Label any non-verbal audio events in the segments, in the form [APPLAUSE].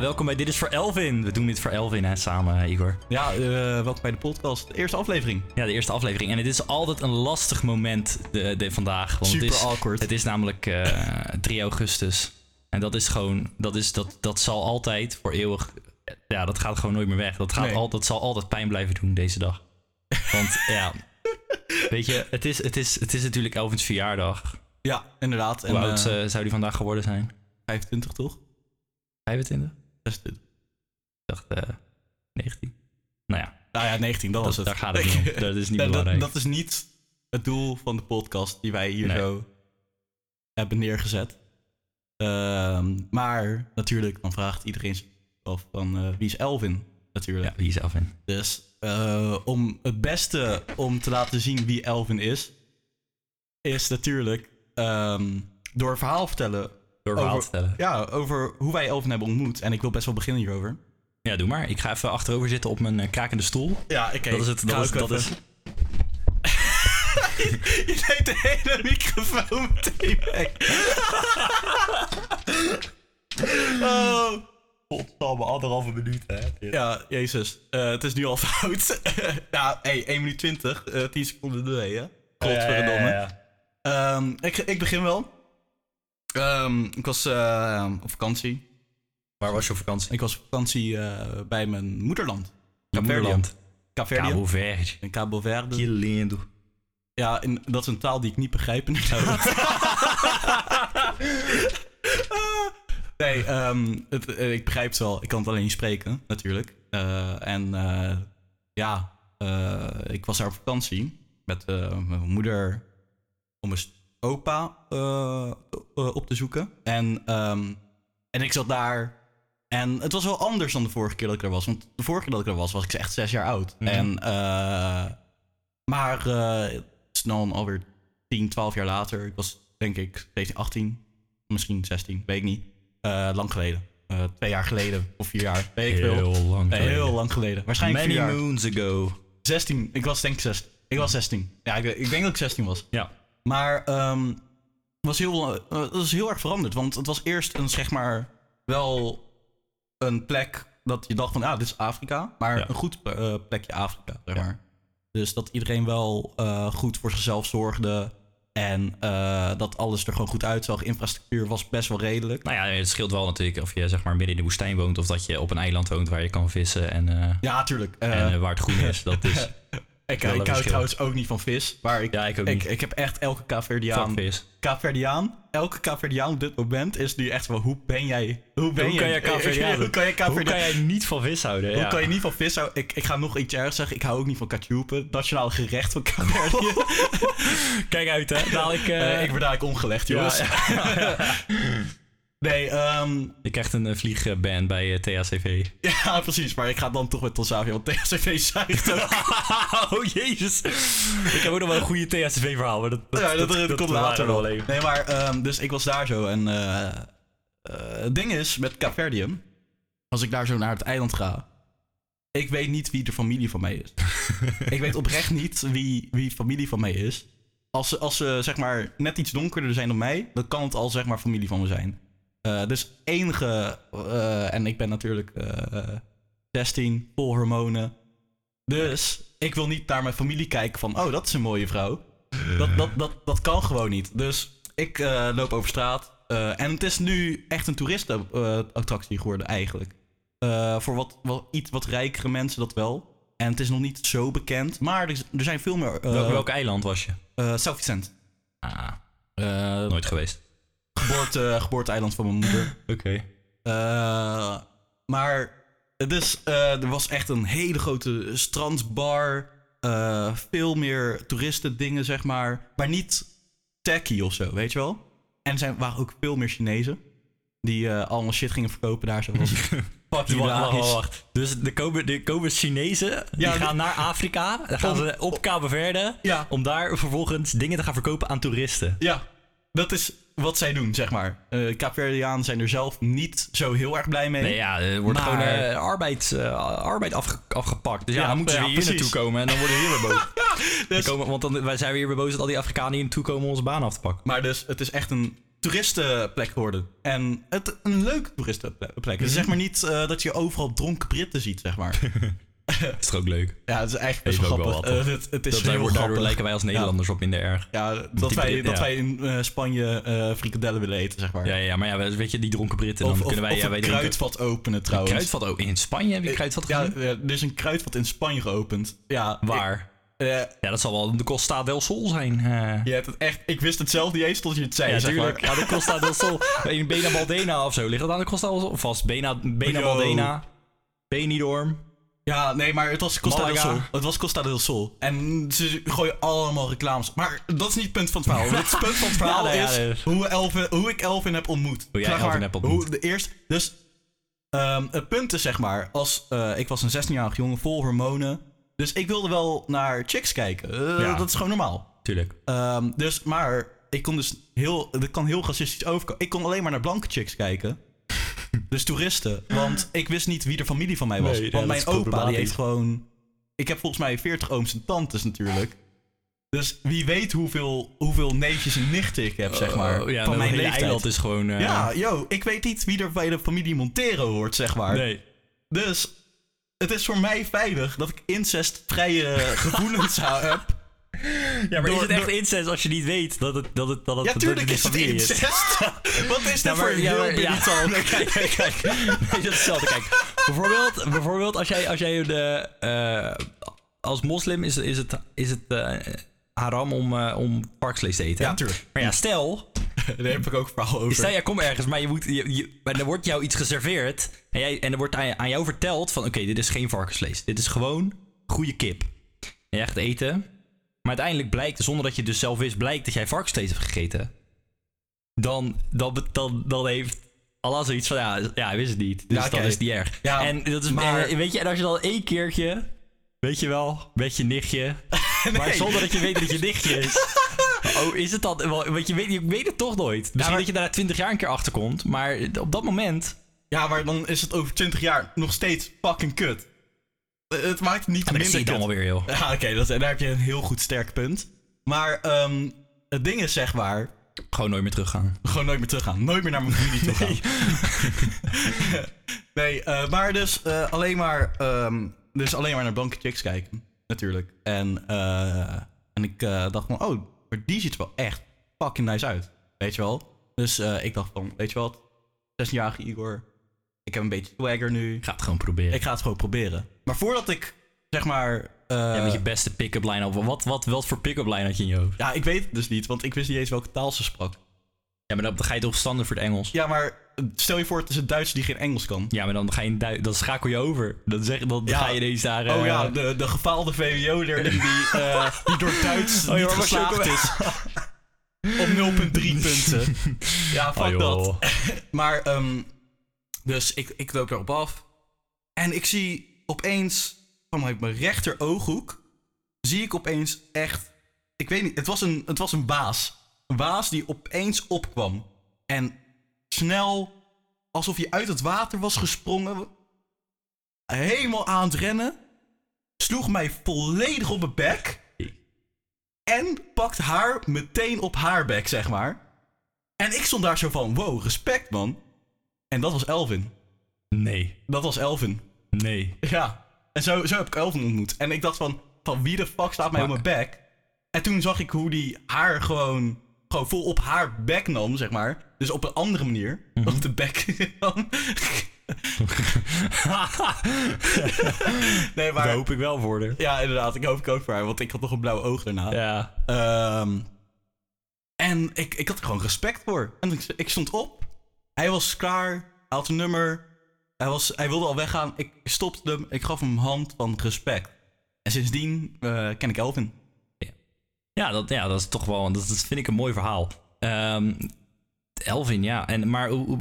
welkom bij Dit is voor Elvin. We doen dit voor Elvin hè, samen, eh, Igor. Ja, eh, welkom bij de podcast. De eerste aflevering. Ja, de eerste aflevering. En het is altijd een lastig moment de, de, vandaag. Want Super het is, awkward. Het is namelijk eh, 3 augustus. En dat is gewoon, dat, is, dat, dat zal altijd voor eeuwig, ja, dat gaat gewoon nooit meer weg. Dat, gaat Nee. al, dat zal altijd pijn blijven doen deze dag. Want ja, weet je, het is, het is, het is natuurlijk Elvins verjaardag. Ja, inderdaad. En, Hoe oud eh, eh, zou die vandaag geworden zijn? 25 toch? 25? Ik 26. dacht eh, 19. Nou ja, Nou ja, 19, dat, dat, was het. daar gaat het niet [LAUGHS] om. Dat is niet Nee, dat, belangrijk. dat is niet het doel van de podcast die wij hier Nee. zo hebben neergezet. Ehm, maar natuurlijk, dan vraagt iedereen zich af van eh, wie is Elvin? Natuurlijk. Ja, wie is Elvin? Dus eh, om het beste om te laten zien wie Elvin is, is natuurlijk ehm, door een verhaal vertellen. Door verhaal Over- te vertellen. Ja, over hoe wij Elvin hebben ontmoet. En ik wil best wel beginnen hierover. Ja, doe maar. Ik ga even achterover zitten op mijn eh, krakende stoel. Ja, oké. dat is het. Dat is, dat is, [LAUGHS] Je neemt de hele microfoon meteen weg. [LAUGHS] oh. Godsamme, anderhalve minuut, hè? Ja, jezus. Eh, het is nu al fout. [LAUGHS] ja, hey, 1 minuut 20. eh 10 seconden delay, hè? Godverdomme. Ehm, ik, ik begin wel. Ehm, ik was eh, op vakantie. Waar was je op vakantie? Ik was op vakantie eh, bij mijn moederland. In Moederland. Caverdië. Cabo Verde. In Cabo Verde. Que lindo. Ja, en dat is een taal die ik niet begrijp [LAUGHS] inderdaad. [LAUGHS] nee, ehm, het, eh, ik begrijp het wel. Ik kan het alleen niet spreken, natuurlijk. Eh, en eh, ja, eh, ik was daar op vakantie met eh, mijn moeder om mijn opa eh, eh, op te zoeken. En, ehm, en ik zat daar. En het was wel anders dan de vorige keer dat ik er was. Want de vorige keer dat ik er was, was ik echt zes jaar oud. Mhm. En eh, maar eh, het is nu al alweer 10, 12 jaar later. Ik was denk ik 17, 18, misschien 16, weet ik niet. Eh, lang geleden. Eh, twee jaar geleden of vier jaar, weet ik veel. Heel lang. Nee, geleden. heel lang geleden. Waarschijnlijk Many vier jaar. moons ago. 16, ik was denk ik 16. Ik was 16. Ja, ik, ik denk dat ik 16 was. Ja. Maar ehm, het was heel, eh, het was heel erg veranderd. Want het was eerst een, zeg maar, wel een plek dat je dacht van, ah, dit is Afrika. Maar Ja. een goed eh, plekje Afrika, zeg Ja. maar. Dus dat iedereen wel eh, goed voor zichzelf zorgde. En eh, dat alles er gewoon goed uitzag. Infrastructuur was best wel redelijk. Nou ja, het scheelt wel natuurlijk of je zeg maar midden in de woestijn woont of dat je op een eiland woont waar je kan vissen en, eh, Ja, tuurlijk. Eh, en eh, waar het groen is. Dat [LAUGHS] is ik eh, wel een ik hou verschil. trouwens ook niet van vis. Maar ik, Ja, ik ook ik, niet. ik heb echt elke Caverdiaan fuck vis. Kaverdiaan, elke Kaverdiaan op dit moment is nu echt wel, hoe ben jij? [LAUGHS] Hoe ben Hoe je? kan jij Kaverdiaan? Hoe kan je Hoe kan Kaverdiaan? jij niet van vis houden? Hoe Ja. kan je niet van vis houden? Ik, ik ga nog iets ergs zeggen. Ik hou ook niet van katjoepen. Nationaal gerecht van [LAUGHS] Kaverdië. Kijk uit, hè. Dadelijk, eh, [LAUGHS] Eh, ik word eigenlijk omgelegd, jongens. [LAUGHS] Nee, ehm, [LAUGHS] Je krijgt een eh, vliegban bij eh, THCV. ja, precies. Maar ik ga dan toch met Transavia, want [LAUGHS] THCV [LAUGHS] zuigt ook. oh jezus. Ik heb ook nog wel een goede THCV-verhaal, maar dat, ja, dat, dat komt later wel. even. Nee, maar ehm, dus ik was daar zo en eh, eh, het ding is met Caverdium, als ik daar zo naar het eiland ga, ik weet niet wie de familie van mij [LAUGHS] is. ik weet oprecht niet wie, wie familie van mij is. Als ze, als ze zeg maar net iets donkerder zijn dan mij, dan kan het al zeg maar familie van me zijn. Eh, dus enige, eh, en ik ben natuurlijk eh, 16, vol hormonen. Dus ik wil niet naar mijn familie kijken van, oh dat is een mooie vrouw. Dat, dat, dat, dat kan gewoon niet. Dus ik eh, loop over straat. eh, en het is nu echt een toeristenattractie geworden eigenlijk. Eh, voor wat, wat, iets wat rijkere mensen dat wel. En het is nog niet zo bekend. Maar er, is- er zijn veel meer... eh Welk, welk eiland was je? eh, Self-Vicent. Ah, Eh, nooit geweest. geboorte, [LAUGHS] geboorteeiland van mijn moeder. Oké. Eh, maar dus, eh, er was echt een hele grote strandbar. eh, veel meer toeristendingen, zeg maar. Maar niet tacky of zo, weet je wel? En er zijn, waren ook veel meer Chinezen. Die eh, allemaal shit gingen verkopen daar. Zo [LAUGHS] was fucking Wacht, wacht, hilarisch. wacht. Dus er komen, er komen Chinezen, Ja, die de- gaan naar Afrika, dan gaan Om- ze op Cabo Verde, Ja. om daar vervolgens dingen te gaan verkopen aan toeristen. Ja, dat is wat zij doen, zeg maar. Eh Kaapverdianen zijn er zelf niet zo heel erg blij mee. Nee, ja, er wordt Maar- gewoon eh, arbeid, eh, arbeid afge- afgepakt. Dus ja, Ja, dan moeten ze ja, weer hier precies. naartoe komen en dan worden we hier weer boos. [LAUGHS] [LAUGHS] Dus- Die komen, want dan, wij zijn weer boos dat al die Afrikanen hier naartoe komen om onze baan af te pakken. Maar dus, het is echt een toeristenplek worden. En het een leuke toeristenplek. Mhm. Het is zeg maar niet eh, dat je overal dronken Britten ziet, zeg maar. [LAUGHS] Dat is toch ook leuk. Ja, het is eigenlijk best Even wel ook wel grappig. wat, Eh, het, het is Dat heel daardoor, daardoor grappig. lijken wij als Nederlanders wat minder erg. Ja, dat, Die wij, Brit- dat ja. wij in eh, Spanje eh, frikadellen willen eten, zeg maar. Ja, ja, maar ja, weet je, die dronken Britten, of dan of, kunnen wij... of ja, een wij drinken- kruidvat openen trouwens. Eh, Kruidvat ook. In Spanje heb je kruidvat ja, gezien? ja, er is een kruidvat in Spanje geopend. Ja, Waar? ik- eh, Ja, dat zal wel de Costa del Sol zijn. eh. je hebt het echt, ik wist het zelf niet eens tot je het zei, Ja, zeg natuurlijk. maar. Aan de Costa del [LAUGHS] Sol. In Bena Baldena of zo ligt dat aan de Costa del Sol. Vast Bena, Bena Yo. Baldena. Benidorm. Ja, nee, maar het was Costa del Malaga. Sol. Het was Costa del Sol. En ze gooien allemaal reclames. Maar dat is niet het punt van het verhaal. het punt van het [LAUGHS] verhaal Ja, nee, ja, is nee. Hoe, Elvin, hoe ik Elvin heb ontmoet. Hoe jij Zeg maar, Elvin hebt ontmoet. Hoe de eerste, dus ehm, het punt is zeg maar, als, eh, ik was een 16-jarig jongen vol hormonen. Dus ik wilde wel naar chicks kijken. Eh, Ja. Dat is gewoon normaal. Tuurlijk. Ehm, dus, maar ik kon dus heel, dat kan heel racistisch overkomen. Ik kon alleen maar naar blanke chicks [LAUGHS] kijken. dus toeristen. Want ik wist niet wie de familie van mij was. Nee, ja, want dat mijn is opa, die problematisch. heeft gewoon... Ik heb volgens mij 40 ooms en tantes natuurlijk. Dus wie weet hoeveel, hoeveel neefjes en nichten ik heb, zeg maar. Oh, ja, van dat mijn hele leeftijd. eiland is gewoon... eh, Ja, yo, ik weet niet wie er bij de familie Montero hoort, zeg maar. Nee. Dus het is voor mij veilig dat ik incestvrije [LAUGHS] gevoelens heb. Ja, maar Door- is het echt door- incest als je niet weet dat het, dat het, dat het, Ja, dat tuurlijk het is het familie incest. [LAUGHS] Wat is Ja, dat voor maar, een ja, heel maar- ja. benieuwd al? Kijk, [LAUGHS] kijk, kijk. Nee, dat is hetzelfde. Kijk, bijvoorbeeld, bijvoorbeeld als jij, als jij de, eh, als moslim is, is het, is het eh, haram om, eh, om varkensvlees te eten. Ja, hè? tuurlijk. Hm. Maar ja, stel, Daar heb ik ook verhaal over. Stel, jij komt ergens, maar, je moet, je, je- maar er wordt jou iets geserveerd. En, jij, en er wordt aan, aan jou verteld van... Oké, dit is geen varkensvlees. Dit is gewoon goede kip. En jij gaat eten. Maar uiteindelijk blijkt, zonder dat je het dus zelf wist... blijkt dat jij varkensvlees hebt gegeten. Dan, dan, bet- dan, dan heeft Allah zoiets van... Ja, ja hij wist het niet. Dus Ja, dat oké. is niet erg. Ja, en, dat is, maar- en weet je, en als je dan één keertje... Weet je wel, met je [LAUGHS] nichtje... Maar Nee. zonder dat je weet dat je nichtje [LAUGHS] is. Oh, is het dat? wel- Want je weet, je weet het toch nooit. Misschien maar- dat je daar na 20 jaar een keer achter komt. Maar op dat moment. Ja, maar dan is het over 20 jaar nog steeds fucking kut. Eh, Het maakt het niet Maar dat minder zie je kut. dan alweer, joh. Ja, oké, dat- daar heb je een heel goed sterk punt. Maar ehm, het ding is zeg maar, Gewoon nooit meer teruggaan. gewoon nooit meer teruggaan. Nooit meer naar mijn familie toe gaan. [LAUGHS] nee, eh, maar dus eh, alleen maar, ehm, dus alleen maar naar blanke chicks kijken, natuurlijk. En, eh, en ik eh, dacht van, oh, maar die ziet er wel echt fucking nice uit, weet je wel? Dus eh, ik dacht van, weet je wat, 16-jarige Igor, ik heb een beetje swagger nu. Ik ga het gewoon proberen. Ik ga het gewoon proberen. Maar voordat ik, zeg maar, eh, ja, met je beste pick-up line op. Wat, wat, wat voor pick-up line had je in je hoofd? ja, ik weet het dus niet, want ik wist niet eens welke taal ze sprak. Ja, maar dan ga je toch standaard voor het Engels? Ja, maar stel je voor, het is een Duits die geen Engels kan. Ja, maar dan, ga je, in Duits- dan schakel je over. Dan, zeg, dan Ja. ga je ineens daar. Oh eh, ja, de, de gefaalde VWO-leerling die, eh, die door Duits Oh, joh, niet maar was je ook geslaagd is. Op 0,3 punten. Ja, Oh, joh. fuck dat. [LAUGHS] Maar, ehm, dus ik, ik loop daarop af. En ik zie opeens, vanuit mijn rechter ooghoek, zie ik opeens echt... Ik weet niet, het was een, het was een waas. Een waas die opeens opkwam. En snel, alsof hij uit het water was gesprongen, helemaal aan het rennen, sloeg mij volledig op mijn bek. En pakt haar meteen op haar bek, zeg maar. En ik stond daar zo van, wow, respect man. En dat was Elvin. Nee, Dat was Elvin. [LAUGHS] nee. Ja. En zo, zo heb ik Elvin ontmoet. En ik dacht van, van wie de fuck staat mij op mijn bek? En toen zag ik hoe die haar gewoon, gewoon vol op haar bek nam, zeg maar. Dus op een andere manier. dan Op de bek [LAUGHS] nam. nee, Daar maar... hoop ik wel voor. haar. Ja, inderdaad. Ik hoop ik ook voor haar, want ik had nog een blauwe oog daarna. Ja. Ehm, en ik, ik had er gewoon respect voor. En ik, ik stond op. Hij was klaar. Hij had een nummer. Hij, was, hij wilde al weggaan. Ik stopte hem. Ik gaf hem een hand van respect. En sindsdien eh, ken ik Elvin. Ja, dat, ja, dat is toch wel. Dat, dat vind ik een mooi verhaal. Ehm, Elvin, ja. En, maar hoe- hoe-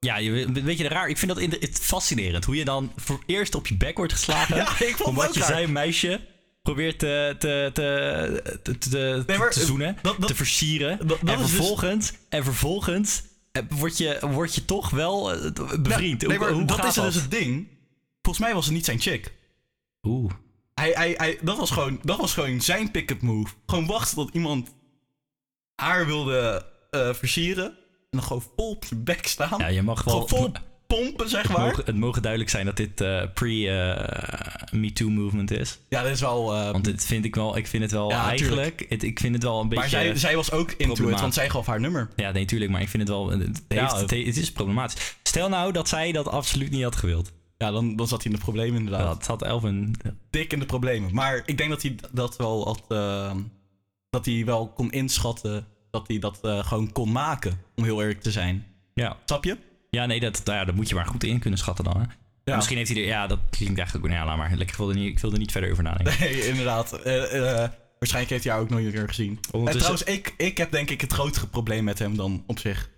ja, je, weet- weet je, raar. Ik vind dat in de- het fascinerend. Hoe je dan voor eerst op je bek wordt geslagen. [LAUGHS] Ja, ik vond het Omdat ook je raar. zijn meisje probeert te, te, te, te, te, Nee, maar, te zoenen, dat- dat- te versieren. dat- dat en, is dus- vervolgens, en vervolgens eh, word je, word je toch wel eh, bevriend. Nee, maar hoe, hoe dat gaat is dus het ding. Volgens mij was het niet zijn chick. Oeh. Hij, hij, hij, dat, was gewoon, dat was gewoon zijn pick-up move. Gewoon wachten tot iemand haar wilde eh, versieren. En dan gewoon vol op je bek staan. Ja, je mag wel... gewoon vol pompen, zeg het, maar. mogen, het mogen duidelijk zijn dat dit eh, pre-MeToo-movement is. Ja, dat is wel... eh, Want dit vind ik wel... Ik vind het wel Ja, tuurlijk. eigenlijk... Het, ik vind het wel een beetje... maar zij, zij was ook into it, problematisch. want zij gaf haar nummer. Ja, nee, tuurlijk. Maar ik vind het wel... Het, heeft, Ja, het, he- het is problematisch. Stel nou dat zij dat absoluut niet had gewild. Ja, dan, dan zat hij in de problemen inderdaad. Dat had Elvin... Dik in de problemen. Maar ik denk dat hij dat wel had... eh, dat hij wel kon inschatten dat hij dat eh, gewoon kon maken. Om heel eerlijk te zijn. Ja. Snap je? [LAUGHS] Ja, nee, dat, nou ja, dat moet je maar goed in kunnen schatten dan. Hè? Ja. Misschien heeft hij er... Ja, dat klinkt eigenlijk... ook- nou Ja, laat maar. Ik wil er niet, ik wil er niet verder over nadenken. [LAUGHS] Nee, inderdaad. Eh, eh, waarschijnlijk heeft hij haar ook nooit meer gezien. En Ondertussen- trouwens, ik, ik heb denk ik het grotere probleem met hem dan op zich.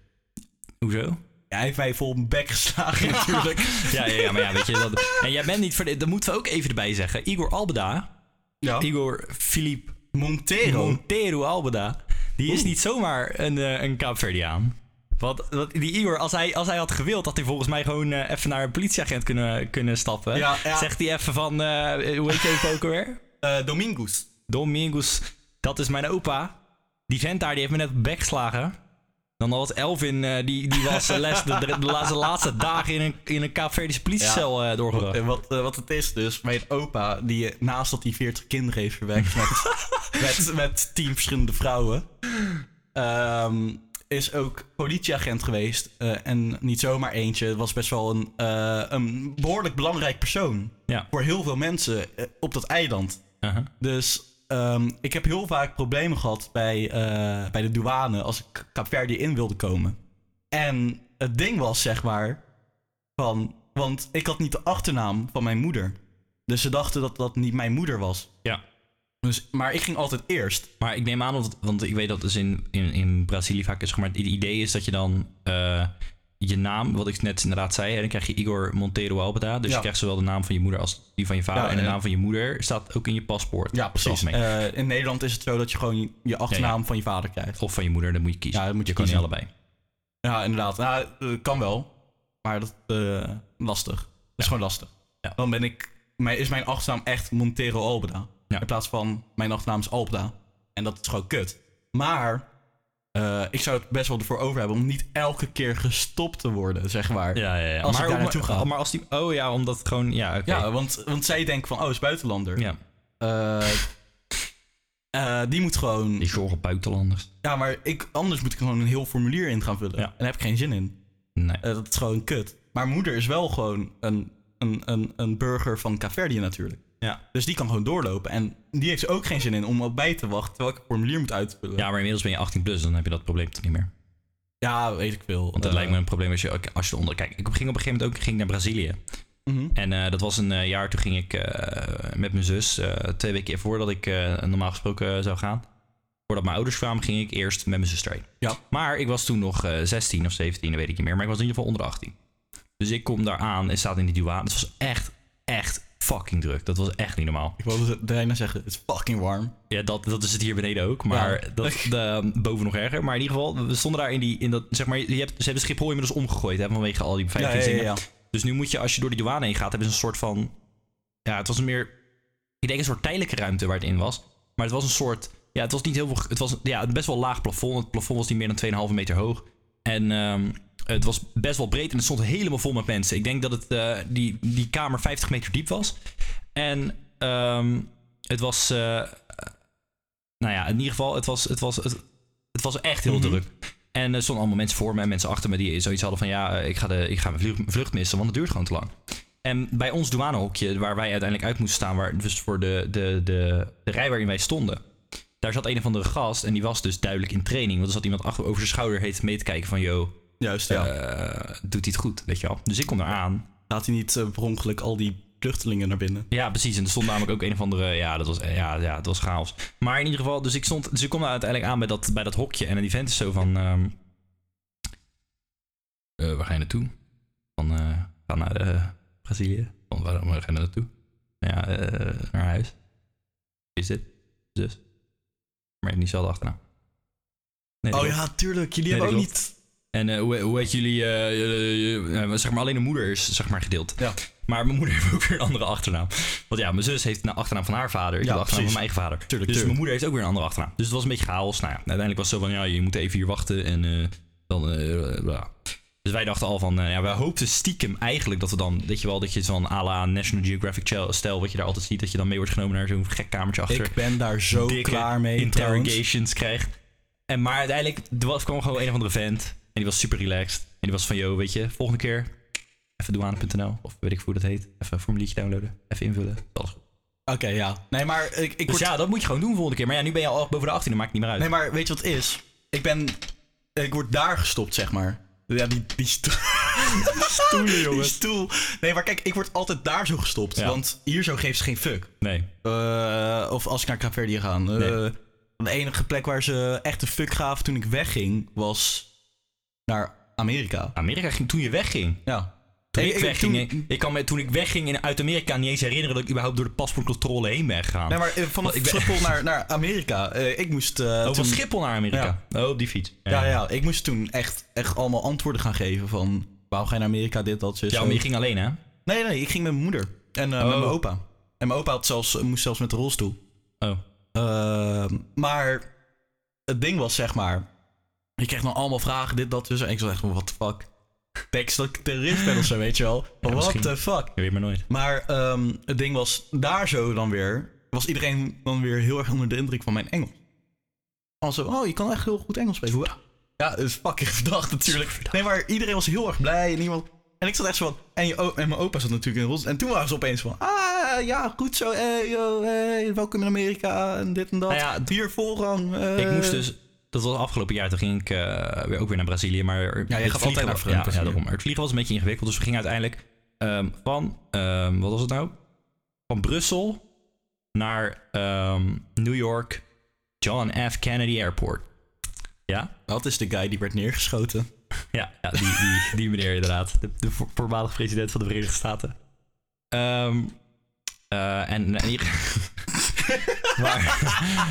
Hoezo? Ja, hij heeft mij vol mijn bek [LAUGHS] geslagen natuurlijk. Ja, ja, ja, maar ja, weet je... Dat, en jij bent niet... verde- Dat moeten we ook even erbij zeggen. Igor Albeda... Ja. Igor Philippe Montero. Montero Albeda. Die is niet zomaar een, eh een Kaapverdiaan. Want, want die Igor, als hij, als hij had gewild, had hij volgens mij gewoon eh, even naar een politieagent kunnen, kunnen stappen. Ja, ja. Zegt hij even van, eh, hoe heet je even ook alweer? Eh, Dominguez. Domingos, dat is mijn opa. Die vent daar, die heeft me net op de bek geslagen. Dan was Elvin, eh, die, die was de, les, de, de, de laatste, laatste dagen in een, in een Kaapverdische politiecel eh, doorgebracht. [LAUGHS] En wat, eh, wat het is dus, mijn opa, die eh, naast dat hij 40 kinderen heeft verwekt met, met, met 10 verschillende vrouwen, ehm, is ook politieagent geweest. eh, en niet zomaar eentje, het was best wel een, eh, een behoorlijk belangrijk persoon Ja. voor heel veel mensen eh, op dat eiland. Uh-huh. Dus ehm, ik heb heel vaak problemen gehad bij, eh, bij de douane als ik Kaapverdi in wilde komen. En het ding was, zeg maar, van, want ik had niet de achternaam van mijn moeder. Dus ze dachten dat dat niet mijn moeder was. Ja. Dus, maar ik ging altijd eerst. Maar ik neem aan, want, want ik weet dat dus in, in, in Brazilië vaak is, zeg maar het idee is dat je dan eh, je naam, wat ik net inderdaad zei, en dan krijg je Igor Montero Albeda. Dus Ja. je krijgt zowel de naam van je moeder als die van je vader. Ja, en de ja. naam van je moeder staat ook in je paspoort. Of, mee. Eh, in Nederland is het zo dat je gewoon je achternaam Ja, van je vader krijgt. of van je moeder, dan moet je kiezen. Ja, dat moet je je kan niet kiezen. allebei. Ja, inderdaad. Nou, eh, kan wel. Maar dat eh lastig. Dat is gewoon lastig. Ja. Dan ben ik, mijn, is mijn achternaam echt Montero Albeda. Ja. In plaats van mijn achternaam is Albeda. En dat is gewoon kut. Maar eh, ik zou het best wel ervoor over hebben om niet elke keer gestopt te worden, zeg maar. Ja, ja, ja. Als ik daar om- naartoe ga. Maar als die. Oh ja, omdat het gewoon. Ja, oké. Ja, want, want zij denken van, oh, is buitenlander. Ja. Eh, eh, die moet gewoon... Die zorgen buitenlanders. Ja, maar ik, anders moet ik gewoon een heel formulier in gaan vullen. Ja. En daar heb ik geen zin in. Nee. Eh, dat is gewoon kut. Maar moeder is wel gewoon een, een, een, een burger van Caverdië natuurlijk. Ja. Dus die kan gewoon doorlopen. En die heeft er ook geen zin in om op bij te wachten terwijl ik een formulier moet uitvullen. Ja, maar inmiddels ben je 18 plus, dan heb je dat probleem toch niet meer. Ja, weet ik veel. Eh, Want dat lijkt me een probleem als je, als je onder. Kijk, ik ging op een gegeven moment ook ik ging naar Brazilië. Mhm. En eh, dat was een eh, jaar, toen ging ik eh, met mijn zus, eh, twee weken eerder voordat ik eh, normaal gesproken eh, zou gaan. Voordat mijn ouders kwamen, ging ik eerst met mijn zus erheen. Ja. Maar ik was toen nog eh, 16 of 17, dat weet ik niet meer. Maar ik was in ieder geval onder de 18. Dus ik kom daar aan en staat in die douane. Het was echt, echt fucking druk. Dat was echt niet normaal. Ik wilde het bijna zeggen, het is fucking warm. Ja, dat, dat is het hier beneden ook. Maar Ja. dat de, ehm, boven nog erger. Maar in ieder geval, we stonden daar in die... In dat, zeg maar, je hebt, ze hebben Schiphol inmiddels omgegooid hè, vanwege al die beveiligingsdingen. Dus nu moet je, als je door die douane heen gaat, hebben ze een soort van. Ja, het was een meer. Ik denk een soort tijdelijke ruimte waar het in was. Maar het was een soort. Ja, het was niet heel veel. Het was ja, een best wel laag plafond. Het plafond was niet meer dan 2,5 meter hoog. En ehm, het was best wel breed en het stond helemaal vol met mensen. Ik denk dat het, eh, die, die kamer 50 meter diep was. En ehm, het was. eh, nou ja, in ieder geval, het was, het was, het, het was echt heel Mhm. druk. En er stonden allemaal mensen voor me en mensen achter me die zoiets hadden van ja, eh, ik ga, de, ik ga mijn vlieg- vlucht missen, want het duurt gewoon te lang. En bij ons douanehokje, waar wij uiteindelijk uit moesten staan, waar, dus voor de, de, de, de rij waarin wij stonden, daar zat een of andere gast en die was dus duidelijk in training. Want er zat iemand achter over zijn schouder heet mee te kijken van yo, Juist, ja. eh, doet hij het goed, weet je wel. Dus ik kom eraan. Laat hij niet eh, per ongeluk al die vluchtelingen naar binnen. Ja, precies. En er stond namelijk ook een of andere. Ja, dat was, ja, ja, dat was chaos. Maar in ieder geval, dus ik stond. Dus ik kom daar uiteindelijk aan bij dat, bij dat hokje. En die vent is zo van. ehm, eh, waar ga je naartoe? Van. eh, ga naar eh, Brazilië. Van waarom waar ga je naartoe? Ja, eh, naar huis. Is dit? Dus. Maar ik niet zelf achterna. Nee, dat Oh klopt. ja, tuurlijk. Jullie Nee, hebben ook dat niet... En eh, hoe, hoe heet jullie. eh, eh, eh, eh, zeg maar alleen de moeder is zeg maar, gedeeld. Ja. Maar mijn moeder [LAUGHS] heeft ook weer een andere achternaam. Want ja, mijn zus heeft een achternaam van haar vader. Ik Ja, heb de achternaam precies. van mijn eigen vader. Tuurlijk, dus tuurlijk. mijn moeder heeft ook weer een andere achternaam. Dus het was een beetje chaos. Nou ja, uiteindelijk was het zo van, ja, je moet even hier wachten. En eh, dan, eh, ja. Dus wij dachten al van, eh, ja, wij hoopten stiekem eigenlijk dat we dan, weet je wel, dat je zo'n à la National Geographic chel- stijl, wat je daar altijd ziet, dat je dan mee wordt genomen naar zo'n gek kamertje achter. Ik ben daar zo dikke klaar mee. trouwens. interrogations krijgt. En maar uiteindelijk er was, kwam gewoon een of andere vent. En die was super relaxed. En die was van, yo, weet je, volgende keer even douane.nl of weet ik hoe dat heet. Even een formuliertje downloaden, even invullen. Alles goed. Oké, ja. Nee, maar ik, ik Dus word ja, dat moet je gewoon doen volgende keer. Maar ja, nu ben je al boven de 18, dat maakt niet meer uit. Nee, maar weet je wat het is? Ik ben. Ik word daar gestopt, zeg maar. Ja, die, die stoel. stoelen, Die stoel. Nee, maar kijk, ik word altijd daar zo gestopt. Ja. Want hier zo geeft ze geen fuck. Nee, Eh, of als ik naar Caverdië ga. eh, Nee. De enige plek waar ze echt een fuck gaven toen ik wegging was naar Amerika. Amerika ging toen je wegging. Ja. Toen Nee, ik, ik- wegging, toen- ik- ik kan me toen ik wegging in, uit Amerika niet eens herinneren dat ik überhaupt door de paspoortcontrole heen ben gegaan. Nee, maar eh, [LAUGHS] vanaf Ik ben- Schiphol naar, naar Amerika. eh, ik moest. eh, oh, van toen- Schiphol naar Amerika. Oh, op die fiets. Ja, ja, ik moest toen echt, echt allemaal antwoorden gaan geven van... Waarom ga je naar Amerika, dit, dat, zus, Ja, zo. maar je ging alleen, hè? Nee, nee, ik ging met mijn moeder. En eh, Oh. met mijn opa. En mijn opa had zelfs, moest zelfs met de rolstoel. Oh. Eh, maar het ding was, zeg maar... Ik kreeg dan allemaal vragen, dit, dat, dus. En ik was echt van, what the fuck? Denk je dat ik terrorist ben of zo, weet je wel? what misschien. the fuck? Je weet maar nooit. Maar ehm, het ding was, daar zo dan weer... Was iedereen dan weer heel erg onder de indruk van mijn Engels. Als zo, oh, je kan echt heel goed Engels spreken. Hoe- Ja, dat is fucking [LAUGHS] verdacht natuurlijk. Nee, maar iedereen was heel erg blij en iemand... En ik zat echt zo van... En, je, o- en mijn opa zat natuurlijk in de rolstoel. En toen waren ze opeens van... Ah, ja, goed zo. eh, yo, eh, welkom in Amerika. En dit en dat. Nou ja, Hier voorrang. eh. Ik moest dus, dat was afgelopen jaar, toen ging ik eh, weer, ook weer naar Brazilië. Maar het gaat vliegen altijd naar was- Brazilië. ja, ja, daarom. Het vliegen was een beetje ingewikkeld, dus we gingen uiteindelijk ehm, van, ehm, wat was het nou? Van Brussel naar ehm, New York, John F. Kennedy Airport. Ja, Dat is de guy die werd neergeschoten. [LAUGHS] ja, ja die, die, die meneer inderdaad. De, de vo- voormalig president van de Verenigde Staten. Ehm, eh, en en hier- [LAUGHS] maar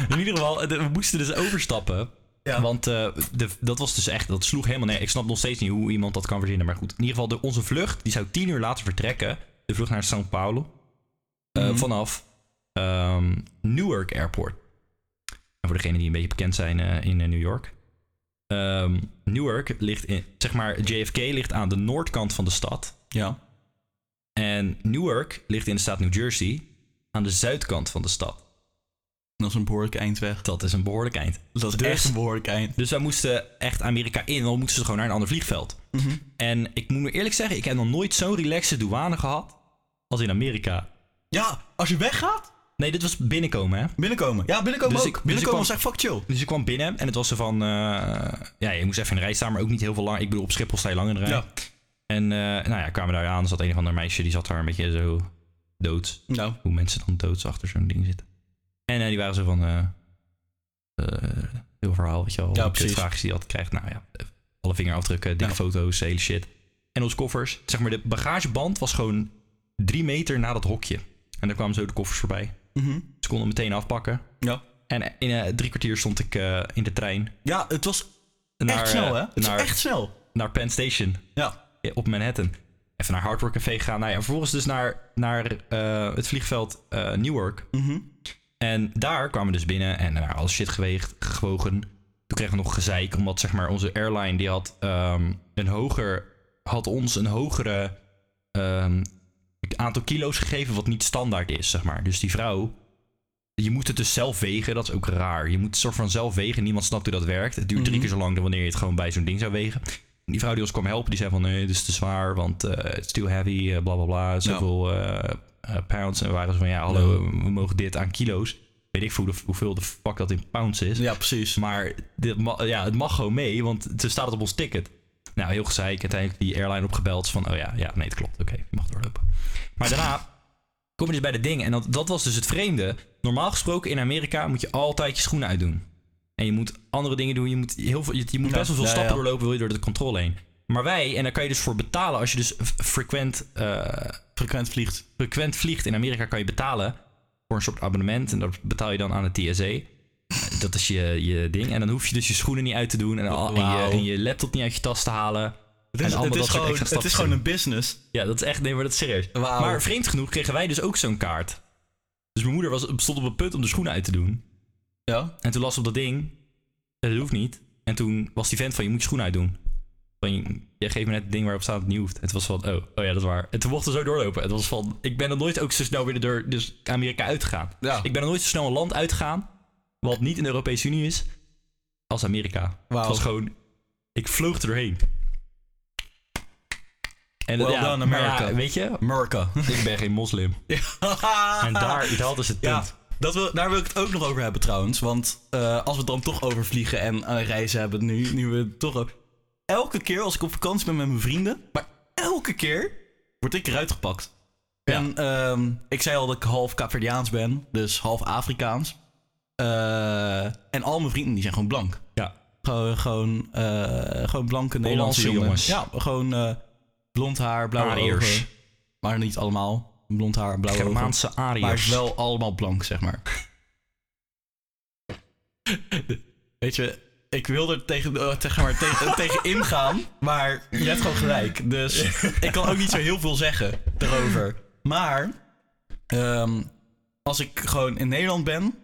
in ieder geval, de- we moesten dus overstappen. Ja. Want eh, de, dat was dus echt, dat sloeg helemaal neer. Ik snap nog steeds niet hoe iemand dat kan verzinnen. Maar goed, in ieder geval, de, onze vlucht, die zou tien uur later vertrekken. De vlucht naar São Paulo. eh, Mhm. Vanaf ehm, Newark Airport. En voor degenen die een beetje bekend zijn eh, in eh, New York. Ehm, Newark ligt in, zeg maar, JFK ligt aan de noordkant van de stad. Ja. En Newark ligt in de staat New Jersey aan de zuidkant van de stad. Dat is een behoorlijk eind weg. Dat is een behoorlijk eind. Dat is Dus- echt een behoorlijk eind. Dus wij moesten echt Amerika in, dan moesten ze gewoon naar een ander vliegveld. Mhm. En ik moet me eerlijk zeggen, ik heb nog nooit zo'n relaxe douane gehad als in Amerika. Ja, als je weggaat, Nee, dit was binnenkomen, hè? binnenkomen. Ja, binnenkomen Dus ook. ik- dus ik binnenkomen kwam- was echt fuck chill. Dus ik kwam binnen en het was er van... eh, ja, je moest even in de rij staan, maar ook niet heel veel lang. Ik bedoel, op Schiphol sta je lang in de rij. Ja. En eh, nou ja, kwamen daar aan. Er zat een of ander meisje, die zat daar een beetje zo dood. Nou. hoe mensen dan doods achter zo'n ding zitten. En eh, die waren zo van. eh eh, heel verhaal, weet je wel. Ja, de precies. vragen die je altijd krijgt. Nou ja, alle vingerafdrukken, dikke Ja. foto's, hele shit. En onze koffers. Zeg maar, de bagageband was gewoon drie meter na dat hokje. En daar kwamen zo de koffers voorbij. Mhm. Ze konden meteen afpakken. Ja. En in eh, drie kwartier stond ik eh, in de trein. Ja, het was Naar, echt snel, eh, hè? Het was naar, echt snel. naar Penn Station Ja. ja, op Manhattan. Even naar Hard Rock Café gaan. Nou ja, vervolgens dus naar, naar eh, het vliegveld eh, Newark. En daar kwamen we dus binnen en er alles shit geweegd, gewogen. Toen kregen we nog gezeik, omdat zeg maar onze airline die had ehm, een hoger, had ons een hogere ehm, aantal kilo's gegeven wat niet standaard is, zeg maar. Dus die vrouw, je moet het dus zelf wegen, dat is ook raar. Je moet het soort van zelf wegen, niemand snapt hoe dat werkt. Het duurt drie keer zo lang dan wanneer je het gewoon bij zo'n ding zou wegen. En Die vrouw die ons kwam helpen, die zei van nee, dit is te zwaar, want eh, it's too heavy, eh, bla bla bla, zoveel eh, eh, pounds. En we waren zo van ja, hallo, we mogen dit aan kilo's. Weet ik veel hoe de- hoeveel de fuck dat in pounds is. Ja, precies. Maar dit ma- ja, het mag gewoon mee, want ze staat het op ons ticket. Nou, heel gezeik. Uiteindelijk die airline opgebeld. Van, oh ja, ja nee, het klopt. Oké, je mag doorlopen. Maar daarna kom je dus bij de ding. En dat, dat was dus het vreemde. Normaal gesproken in Amerika moet je altijd je schoenen uitdoen. En je moet andere dingen doen. Je moet, heel veel, je, je moet Ja, best wel veel ja, stappen ja. doorlopen. Wil je door de controle heen. Maar wij, en daar kan je dus voor betalen als je dus f- frequent eh, Frequent vliegt. frequent vliegt in Amerika kan je betalen voor een soort abonnement. En dat betaal je dan aan het TSA. Dat is je, je ding. En dan hoef je dus je schoenen niet uit te doen. En, al, en, je, Wauw. en je laptop niet uit je tas te halen. Dus Het En is, allemaal het dat is, soort gewoon, extra het is stapjes gewoon een business. Ja, dat is echt, nee, maar dat is serieus. Wauw. Maar vreemd genoeg kregen wij dus ook zo'n kaart. Dus mijn moeder was, stond op een punt om de schoenen uit te doen. Ja. En toen las ze op dat ding, eh, dat hoeft niet. En toen was die vent van, je moet je schoenen uitdoen. Van, je- jij geeft me net het ding waarop staat dat het niet hoeft. En toen was ze van, oh, oh ja, dat is waar. En toen mochten ze zo doorlopen. En het was van, ik ben nog nooit ook zo snel weer de deur, dus Amerika uitgegaan. Ja. Ik ben nog nooit zo snel een land uitgegaan, wat niet in de Europese Unie is, als Amerika. Het Wauw. was gewoon, ik vloog er doorheen. En dat- Well ja, done, maar ja, America. weet je, America. [LAUGHS] ik ben geen moslim. Ja. En daar, dat is het punt. Ja, dat wil, daar wil ik het ook nog over hebben trouwens. Want eh, als we het dan toch over vliegen en eh, reizen hebben, nu, nu we het toch over... Elke keer als ik op vakantie ben met mijn vrienden, maar elke keer word ik eruit gepakt. Ja. En ehm, ik zei al dat ik half Caverdiaans ben, dus half Afrikaans. Eh, en al mijn vrienden die zijn gewoon blank. Ja. Gewoon, gewoon, eh, gewoon blanke Nederlandse jongens. jongens. Ja, gewoon eh, blond haar, blauwe Ariërs. ogen. Maar niet allemaal. Blond haar, blauwe ogen. Germaanse Maar het Ariërs. is wel allemaal blank, zeg maar. Weet je, ik wil er tegen, eh, tegen, maar, tegen, tegen ingaan, maar je hebt gewoon gelijk. Dus ik kan ook niet zo heel veel zeggen erover. Maar ehm, als ik gewoon in Nederland ben,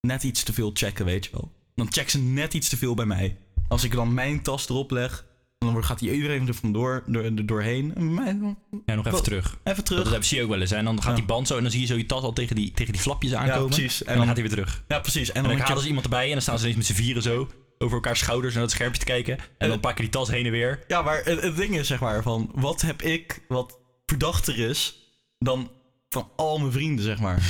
net iets te veel checken, weet je wel. Dan checken ze net iets te veel bij mij. Als ik dan mijn tas erop leg, dan wordt- gaat die iedereen er vandoor door, er doorheen. En bij mij- Ja, nog even Wel- terug. Even Dat terug. hebben ze hier ook wel eens. hè. En dan gaat Ja. die band zo en dan zie je zo je tas al tegen die, tegen die flapjes aankomen. precies. En En dan dan- gaat hij weer terug. Ja, precies. En En dan dan halen ze iemand erbij en dan staan ze ineens met z'n vieren zo over elkaar schouders naar het schermpje te kijken. En dan pakken die tas heen en weer. Ja, maar het, het ding is zeg maar van, wat heb ik wat verdachter is dan van al mijn vrienden, zeg maar.